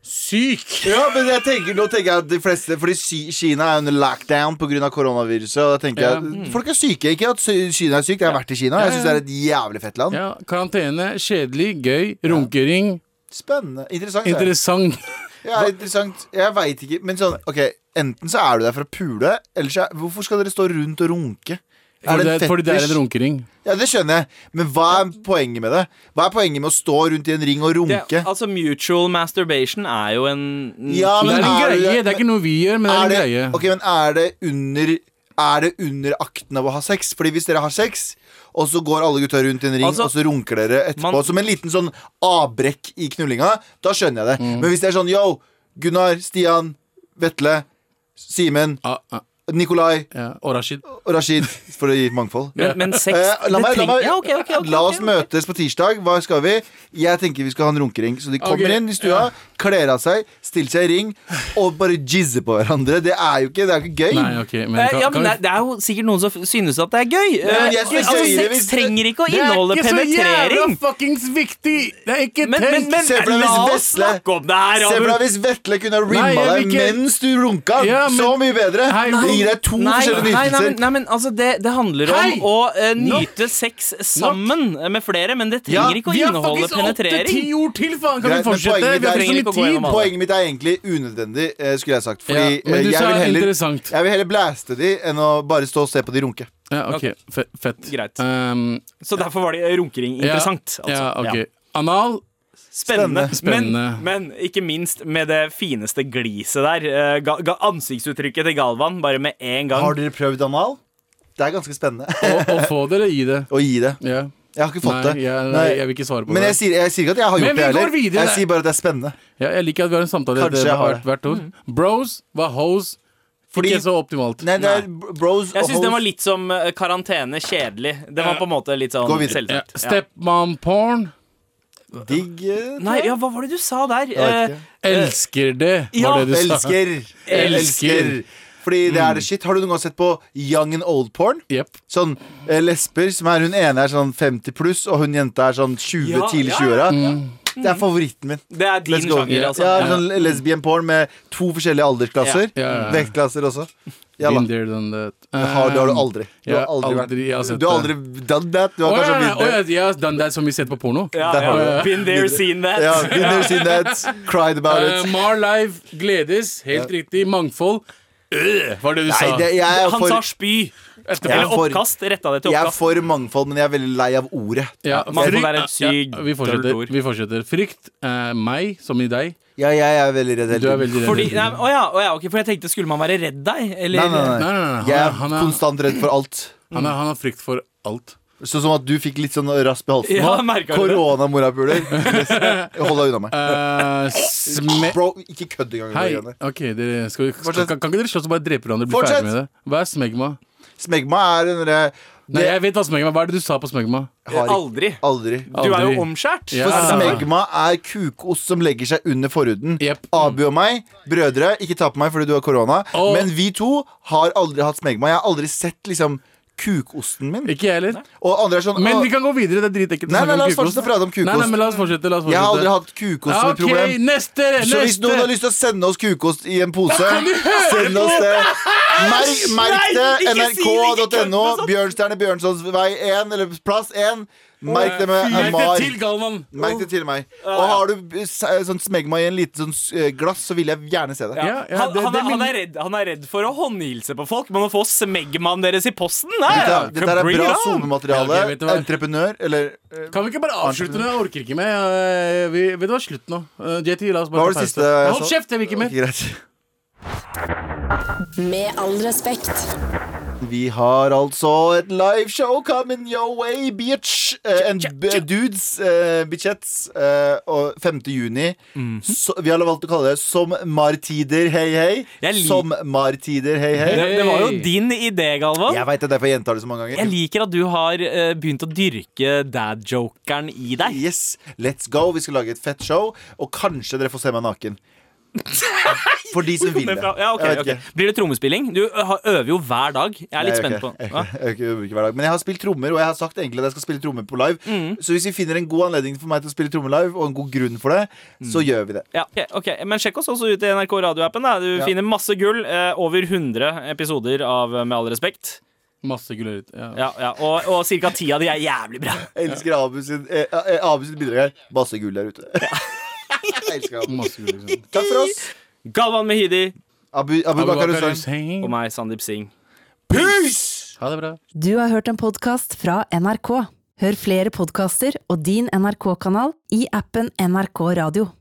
Speaker 3: Syk!
Speaker 2: Ja, men jeg tenker, nå tenker jeg at de fleste Fordi Ki- Kina er under lockdown pga. koronaviruset. Og da tenker
Speaker 3: Ja.
Speaker 2: jeg Folk er syke. Ikke at Sy- Kina er syk, jeg har vært i Kina. Jeg syns det er et jævlig fett land.
Speaker 3: Ja, karantene, kjedelig, gøy, runkering,
Speaker 2: Spennende. Interessant. det Altså, er.
Speaker 3: interessant.
Speaker 2: Ja, interessant. Jeg veit ikke. Men sånn, ok, enten så er du der for å pule, eller så er, Hvorfor skal dere stå rundt og runke? Er
Speaker 3: Fordi det, fordi det er
Speaker 2: fetisj?
Speaker 3: en runkering.
Speaker 2: Ja, det skjønner jeg. Men hva er poenget med det? Hva er poenget med å stå rundt i en ring og
Speaker 4: Det,
Speaker 2: runke?
Speaker 4: altså, mutual masturbation er jo en
Speaker 2: Ja,
Speaker 3: Det
Speaker 2: men
Speaker 3: er en
Speaker 2: er det-
Speaker 3: greie. Det er ikke noe vi gjør, men det
Speaker 2: Er
Speaker 3: er
Speaker 2: det,
Speaker 3: en greie.
Speaker 2: ok, men er det under Er det under akten av å ha sex? Fordi hvis dere har sex og så går alle gutta rundt i en ring
Speaker 4: Altså,
Speaker 2: og så runker dere etterpå.
Speaker 4: man-
Speaker 2: som en liten sånn avbrekk i knullinga. Da skjønner jeg det.
Speaker 4: Mm.
Speaker 2: Men hvis det er sånn yo, Gunnar, Stian, Vetle, Simen,
Speaker 3: Ah, ah,
Speaker 2: Nikolai,
Speaker 3: ja, og Rashid.
Speaker 2: Og Rashid, for å gi mangfold.
Speaker 4: Men, men sex
Speaker 2: Eh, la,
Speaker 4: det
Speaker 2: meg, la,
Speaker 4: trenger-
Speaker 2: meg,
Speaker 4: ja, ok, ok, ok,
Speaker 2: la oss
Speaker 4: ok.
Speaker 2: møtes på tirsdag. Hva skal vi? Jeg tenker vi skal ha en runkering. Så de kommer
Speaker 3: Ok,
Speaker 2: inn i stua, kler av seg, stiller seg i ring og bare jizzer på hverandre. Det er jo ikke, det er jo ikke gøy.
Speaker 3: Nei, ok, men
Speaker 4: Eh,
Speaker 3: kan,
Speaker 4: ja, men
Speaker 3: kan
Speaker 4: det, det er jo sikkert noen som f- synes at det er gøy.
Speaker 2: Ja, men
Speaker 4: Eh,
Speaker 2: jeg synes
Speaker 4: altså,
Speaker 2: det er gøyere
Speaker 4: sex
Speaker 2: hvis-
Speaker 4: trenger ikke å
Speaker 3: Det er
Speaker 4: inneholde
Speaker 3: ikke så jævla
Speaker 4: penetrering.
Speaker 3: fuckings viktig! Det er ikke
Speaker 4: Men, men,
Speaker 3: tenkt!
Speaker 4: men
Speaker 2: Se for deg
Speaker 4: la
Speaker 2: hvis
Speaker 4: oss
Speaker 2: Vesle-
Speaker 4: snakke om det her,
Speaker 2: Se for
Speaker 4: Abu.
Speaker 2: deg hvis Vetle kunne ha
Speaker 3: Nei,
Speaker 2: rimma
Speaker 3: jeg
Speaker 2: deg
Speaker 3: vil ikke-
Speaker 2: mens du runka.
Speaker 3: Ja, men-
Speaker 2: så mye bedre.
Speaker 3: Hei,
Speaker 2: det
Speaker 3: nei.
Speaker 2: gir deg to
Speaker 4: Nei,
Speaker 2: forskjellige
Speaker 4: nei, nei, men,
Speaker 2: nytelser.
Speaker 4: nei, men altså det, det handler om
Speaker 3: Hei!
Speaker 4: å eh, nyte sex sammen eh, med flere, men det
Speaker 2: Ja,
Speaker 4: trenger ikke å
Speaker 3: vi har
Speaker 4: inneholde
Speaker 3: faktisk åtte-ti
Speaker 4: penetrering.
Speaker 3: ord til, faen! Kan
Speaker 2: Greit,
Speaker 3: vi
Speaker 2: men
Speaker 3: fortsette?
Speaker 2: poenget
Speaker 3: Vi har
Speaker 2: er-
Speaker 3: ikke
Speaker 4: trenger ikke å gå
Speaker 3: så
Speaker 4: gjennom
Speaker 3: mye tid!
Speaker 4: alle.
Speaker 2: Poenget mitt er egentlig unødvendig, eh, skulle jeg sagt. Fordi
Speaker 3: Ja, men
Speaker 2: eh,
Speaker 3: du
Speaker 2: jeg,
Speaker 3: sa
Speaker 2: vil heller,
Speaker 3: interessant.
Speaker 2: jeg vil heller blæste de enn å bare stå og se på de runke.
Speaker 3: Ja, ok, Fe fett.
Speaker 4: Greit.
Speaker 3: Um,
Speaker 4: Så derfor var det runkering
Speaker 3: ja,
Speaker 4: interessant. Altså.
Speaker 3: Ja, ok.
Speaker 4: Ja.
Speaker 3: Anal
Speaker 4: Spennende.
Speaker 3: Spennende.
Speaker 4: Men, men ikke minst med det fineste gliset der. eh, ga, ga ansiktsuttrykket til Galvan bare med en gang.
Speaker 2: Har dere prøvd anal? Det er ganske spennende
Speaker 3: og, og få det eller gi det.
Speaker 2: å gi det.
Speaker 3: Ja.
Speaker 2: Jeg har ikke fått
Speaker 3: Nei,
Speaker 2: det.
Speaker 3: jeg,
Speaker 2: Nei.
Speaker 3: jeg vil ikke svare på
Speaker 2: Men
Speaker 3: det.
Speaker 2: jeg sier, jeg sier ikke at jeg har
Speaker 3: Men
Speaker 2: gjort det
Speaker 3: vi går
Speaker 2: heller.
Speaker 3: videre.
Speaker 2: Jeg sier bare at det er spennende.
Speaker 3: Ja, jeg liker at vi har en samtale
Speaker 2: Kanskje
Speaker 3: etter
Speaker 2: jeg har
Speaker 3: hvert, hvert ord. Bros var hoes.
Speaker 2: Fordi-
Speaker 3: ikke så optimalt.
Speaker 2: Nei, det er bros
Speaker 4: Jeg syns
Speaker 2: og
Speaker 4: den var
Speaker 2: hoes.
Speaker 4: litt som eh, karantene kjedelig. Den var på en måte litt sånn
Speaker 2: Gå videre.
Speaker 3: ja.
Speaker 4: selvsagt. Ja.
Speaker 3: Stepmom porn.
Speaker 2: digg. eh,
Speaker 4: Nei, ja, hva var det du sa der?
Speaker 2: vet ikke.
Speaker 4: Eh,
Speaker 3: Elsker det,
Speaker 4: ja,
Speaker 3: var det du sa. Mm.
Speaker 2: Elsker. Elsker. Fordi det er det shit. Har du noen gang sett på young and old porn?
Speaker 3: Jepp.
Speaker 2: Sånn eh, lesber som er Hun ene er sånn 50 pluss, og hun jenta er sånn 20,
Speaker 4: Ja,
Speaker 2: tidlig
Speaker 4: ja,
Speaker 2: 20-åra.
Speaker 3: Mm.
Speaker 2: Det er favoritten min.
Speaker 4: det er din
Speaker 2: Let's go.
Speaker 4: sjanger, altså.
Speaker 2: Ja, sånn lesbian porn med to forskjellige aldersklasser.
Speaker 3: Ja. Ja, ja, ja.
Speaker 2: Vektklasser også. Jalla.
Speaker 3: Been there, done that. Um,
Speaker 2: Det har, det har du aldri. Du
Speaker 3: Ja,
Speaker 2: har aldri,
Speaker 3: aldri, jeg har
Speaker 2: vært
Speaker 3: sett
Speaker 2: Du har aldri done that. Du
Speaker 3: Å
Speaker 2: har
Speaker 3: ja,
Speaker 2: kanskje
Speaker 3: nei,
Speaker 2: been
Speaker 3: å ja,
Speaker 2: there.
Speaker 3: ja, done that som vi ser på porno.
Speaker 4: Ja,
Speaker 2: Der har
Speaker 4: ja.
Speaker 2: du det.
Speaker 4: Been there, seen that.
Speaker 2: Ja, been there, seen that. Cried about
Speaker 3: Uh,
Speaker 2: it.
Speaker 3: Mar Live gledes, helt riktig. Mangfold. Øh, var det du
Speaker 2: Nei,
Speaker 3: sa.
Speaker 2: det, jeg, er
Speaker 4: Han sa
Speaker 2: for,
Speaker 4: spy.
Speaker 3: Etterpå.
Speaker 2: Jeg er
Speaker 4: Eller
Speaker 2: for-
Speaker 4: oppkast. Retta det til
Speaker 2: jeg er
Speaker 4: oppkast.
Speaker 2: for mangfold, men jeg er veldig lei av ordet.
Speaker 3: Ja,
Speaker 4: man får
Speaker 3: frykt-
Speaker 4: være en syk
Speaker 3: vi, fortsetter,
Speaker 4: dørord.
Speaker 3: vi fortsetter. Frykt. eh, meg, som i deg.
Speaker 2: Ja, jeg er veldig redd hele
Speaker 3: Du er
Speaker 2: tiden.
Speaker 3: veldig redd.
Speaker 4: Fordi, nei, men- å ja, å ja, ok, for jeg tenkte, skulle man være redd deg? Eller?
Speaker 2: Nei, nei,
Speaker 3: Nei,
Speaker 2: nei.
Speaker 3: nei, nei,
Speaker 2: Jeg
Speaker 3: han,
Speaker 2: er
Speaker 3: han, er,
Speaker 2: konstant redd for alt.
Speaker 3: han, er, han har frykt for alt.
Speaker 2: Sånn som at du fikk litt sånn rasp i halsen
Speaker 4: Ja,
Speaker 2: nå.
Speaker 4: jeg merker det.
Speaker 3: *laughs*
Speaker 2: Koronamorapuler. Hold deg unna meg.
Speaker 3: Eh, sme...
Speaker 2: Bro, ikke kødd engang.
Speaker 3: Hei,
Speaker 2: med det greiene.
Speaker 3: ok, dere, skal vi,
Speaker 2: Fortsett.
Speaker 3: kan, kan ikke dere slåss og bare drepe hverandre? og Bli
Speaker 2: Fortsett.
Speaker 3: ferdig med det? Hva er smegma?
Speaker 2: Smegma er den derre
Speaker 3: Nei,
Speaker 2: Det-
Speaker 3: jeg vet hva smegma Hva er det du sa på smegma?
Speaker 2: har ikke-
Speaker 4: Aldri.
Speaker 2: Aldri.
Speaker 4: Du er jo
Speaker 3: Aldri.
Speaker 4: omskjært.
Speaker 3: Ja.
Speaker 2: For
Speaker 3: Ah.
Speaker 2: smegma er kukost som legger seg under forhuden.
Speaker 3: Jep.
Speaker 2: Abu og meg, brødre, ikke ta på meg fordi du har korona.
Speaker 3: Og-
Speaker 2: Men vi to har aldri hatt smegma. Jeg har aldri sett liksom kukosten min.
Speaker 3: Ikke jeg heller.
Speaker 2: Og andre er sånn
Speaker 3: Men
Speaker 2: «Å,
Speaker 3: vi kan gå videre. Det er dritekkelt. å
Speaker 2: Nei,
Speaker 3: snakke
Speaker 2: nei,
Speaker 3: om
Speaker 2: la oss
Speaker 3: kukost.
Speaker 2: fortsette å prate om kukost.
Speaker 3: Nei, nei, men la oss fortsette. La oss fortsette.
Speaker 2: Jeg har aldri hatt kukost
Speaker 3: ja,
Speaker 2: som et
Speaker 3: ok,
Speaker 2: problem.
Speaker 3: Neste!
Speaker 2: Så hvis noen har
Speaker 3: neste!
Speaker 2: lyst til å sende oss kukost i en pose, send oss det. Merk, merk det.
Speaker 4: Nei, ikke si det,
Speaker 2: NRK.no.
Speaker 4: ikke kødd
Speaker 3: altså.
Speaker 4: med sånt.
Speaker 2: Bjørnstjerne Bjørnsons vei 1, eller plass 1. Merk det med
Speaker 3: Merk det
Speaker 2: Amar.
Speaker 3: til, Galvan.
Speaker 2: Merk det til meg. Og har du eh, s- eh, sånn smegma i en liten sånn s- eh, glass, så vil jeg gjerne se det.
Speaker 3: Ja, ja,
Speaker 4: han,
Speaker 3: det-
Speaker 4: han, er,
Speaker 3: det
Speaker 4: han,
Speaker 3: minner-
Speaker 4: er redd, han er redd for å håndhilse på folk, men å få smegmaen deres i posten Nei,
Speaker 2: Dette,
Speaker 4: ja,
Speaker 2: dette er
Speaker 4: bring
Speaker 2: bra
Speaker 4: it on.
Speaker 2: SoMe-materiale.
Speaker 3: Ja, ok, vet du hva?
Speaker 2: Entreprenør, eller eh,
Speaker 3: Kan vi ikke bare avslutte nå? Jeg orker ikke mer. Jeg- Vi, vet du hva, slutt nå. Eh, JT, la oss bare
Speaker 2: Hva var det
Speaker 3: ta pause.
Speaker 2: siste eh, sånn? jeg
Speaker 3: Hold
Speaker 2: sa?
Speaker 3: kjeft, jeg vil ikke mer.
Speaker 2: Greit.
Speaker 1: Med all respekt.
Speaker 2: Vi har altså et liveshow coming your way, bitch. Eh, en b- dudes, eh, bitchets, eh, og 5. juni.
Speaker 4: Mhm.
Speaker 2: Så, vi har valgt å kalle det Som martider, hei, hei.
Speaker 4: Jeg lik-
Speaker 2: Som martider, hei, hei.
Speaker 4: Det, det var jo
Speaker 3: Hey.
Speaker 4: din idé, Galvan.
Speaker 2: Jeg veit det, derfor jeg gjentar det så mange ganger.
Speaker 4: Jeg liker at du har eh, begynt å dyrke dad-jokeren i deg.
Speaker 2: Yes, let's go. Vi skal lage et fett show, og kanskje dere får se meg
Speaker 4: *laughs*
Speaker 2: naken. For de som vil det.
Speaker 4: Ja, ok,
Speaker 2: Jeg vet
Speaker 4: ok.
Speaker 2: ikke.
Speaker 4: Blir det trommespilling? Du ø, har- øver jo hver dag. Jeg er litt
Speaker 2: Jeg gjør
Speaker 4: spent
Speaker 2: ikke
Speaker 4: på
Speaker 2: det. Jeg
Speaker 4: ja.
Speaker 2: gjør ikke- jeg gjør ikke hver dag. Men jeg har spilt trommer, og jeg har sagt egentlig at jeg skal spille trommer på live.
Speaker 4: Mm.
Speaker 2: Så hvis vi finner en god anledning for meg til å spille trommer live, og en god grunn for det,
Speaker 4: Mm.
Speaker 2: så gjør vi det.
Speaker 4: Ja, ok, ok. Men sjekk oss også ut i NRK radioappen. da. Du
Speaker 2: Ja.
Speaker 4: finner masse gull. eh, Over 100 episoder av eh, Med all respekt.
Speaker 3: Masse gulrøtter. Ja.
Speaker 4: Ja, ja. Og, og ca. ti av de er jævlig bra.
Speaker 2: Jeg elsker Abu sitt, eh, eh, Abu sitt bidrag her. Masse gull der
Speaker 4: *laughs*
Speaker 2: ute. Jeg elsker Abu.
Speaker 3: Masse liksom. gulrøtter.
Speaker 2: Takk for oss.
Speaker 4: Galvan Mehidi
Speaker 2: Abu, Abu Bakar
Speaker 3: Abubakar
Speaker 2: Hussein.
Speaker 3: Hussein.
Speaker 4: og meg, Sandeep Singh.
Speaker 2: Peace!
Speaker 3: Ha det bra.
Speaker 7: Du har hørt en podkast fra NRK. Hør flere podkaster og din NRK-kanal i appen NRK Radio.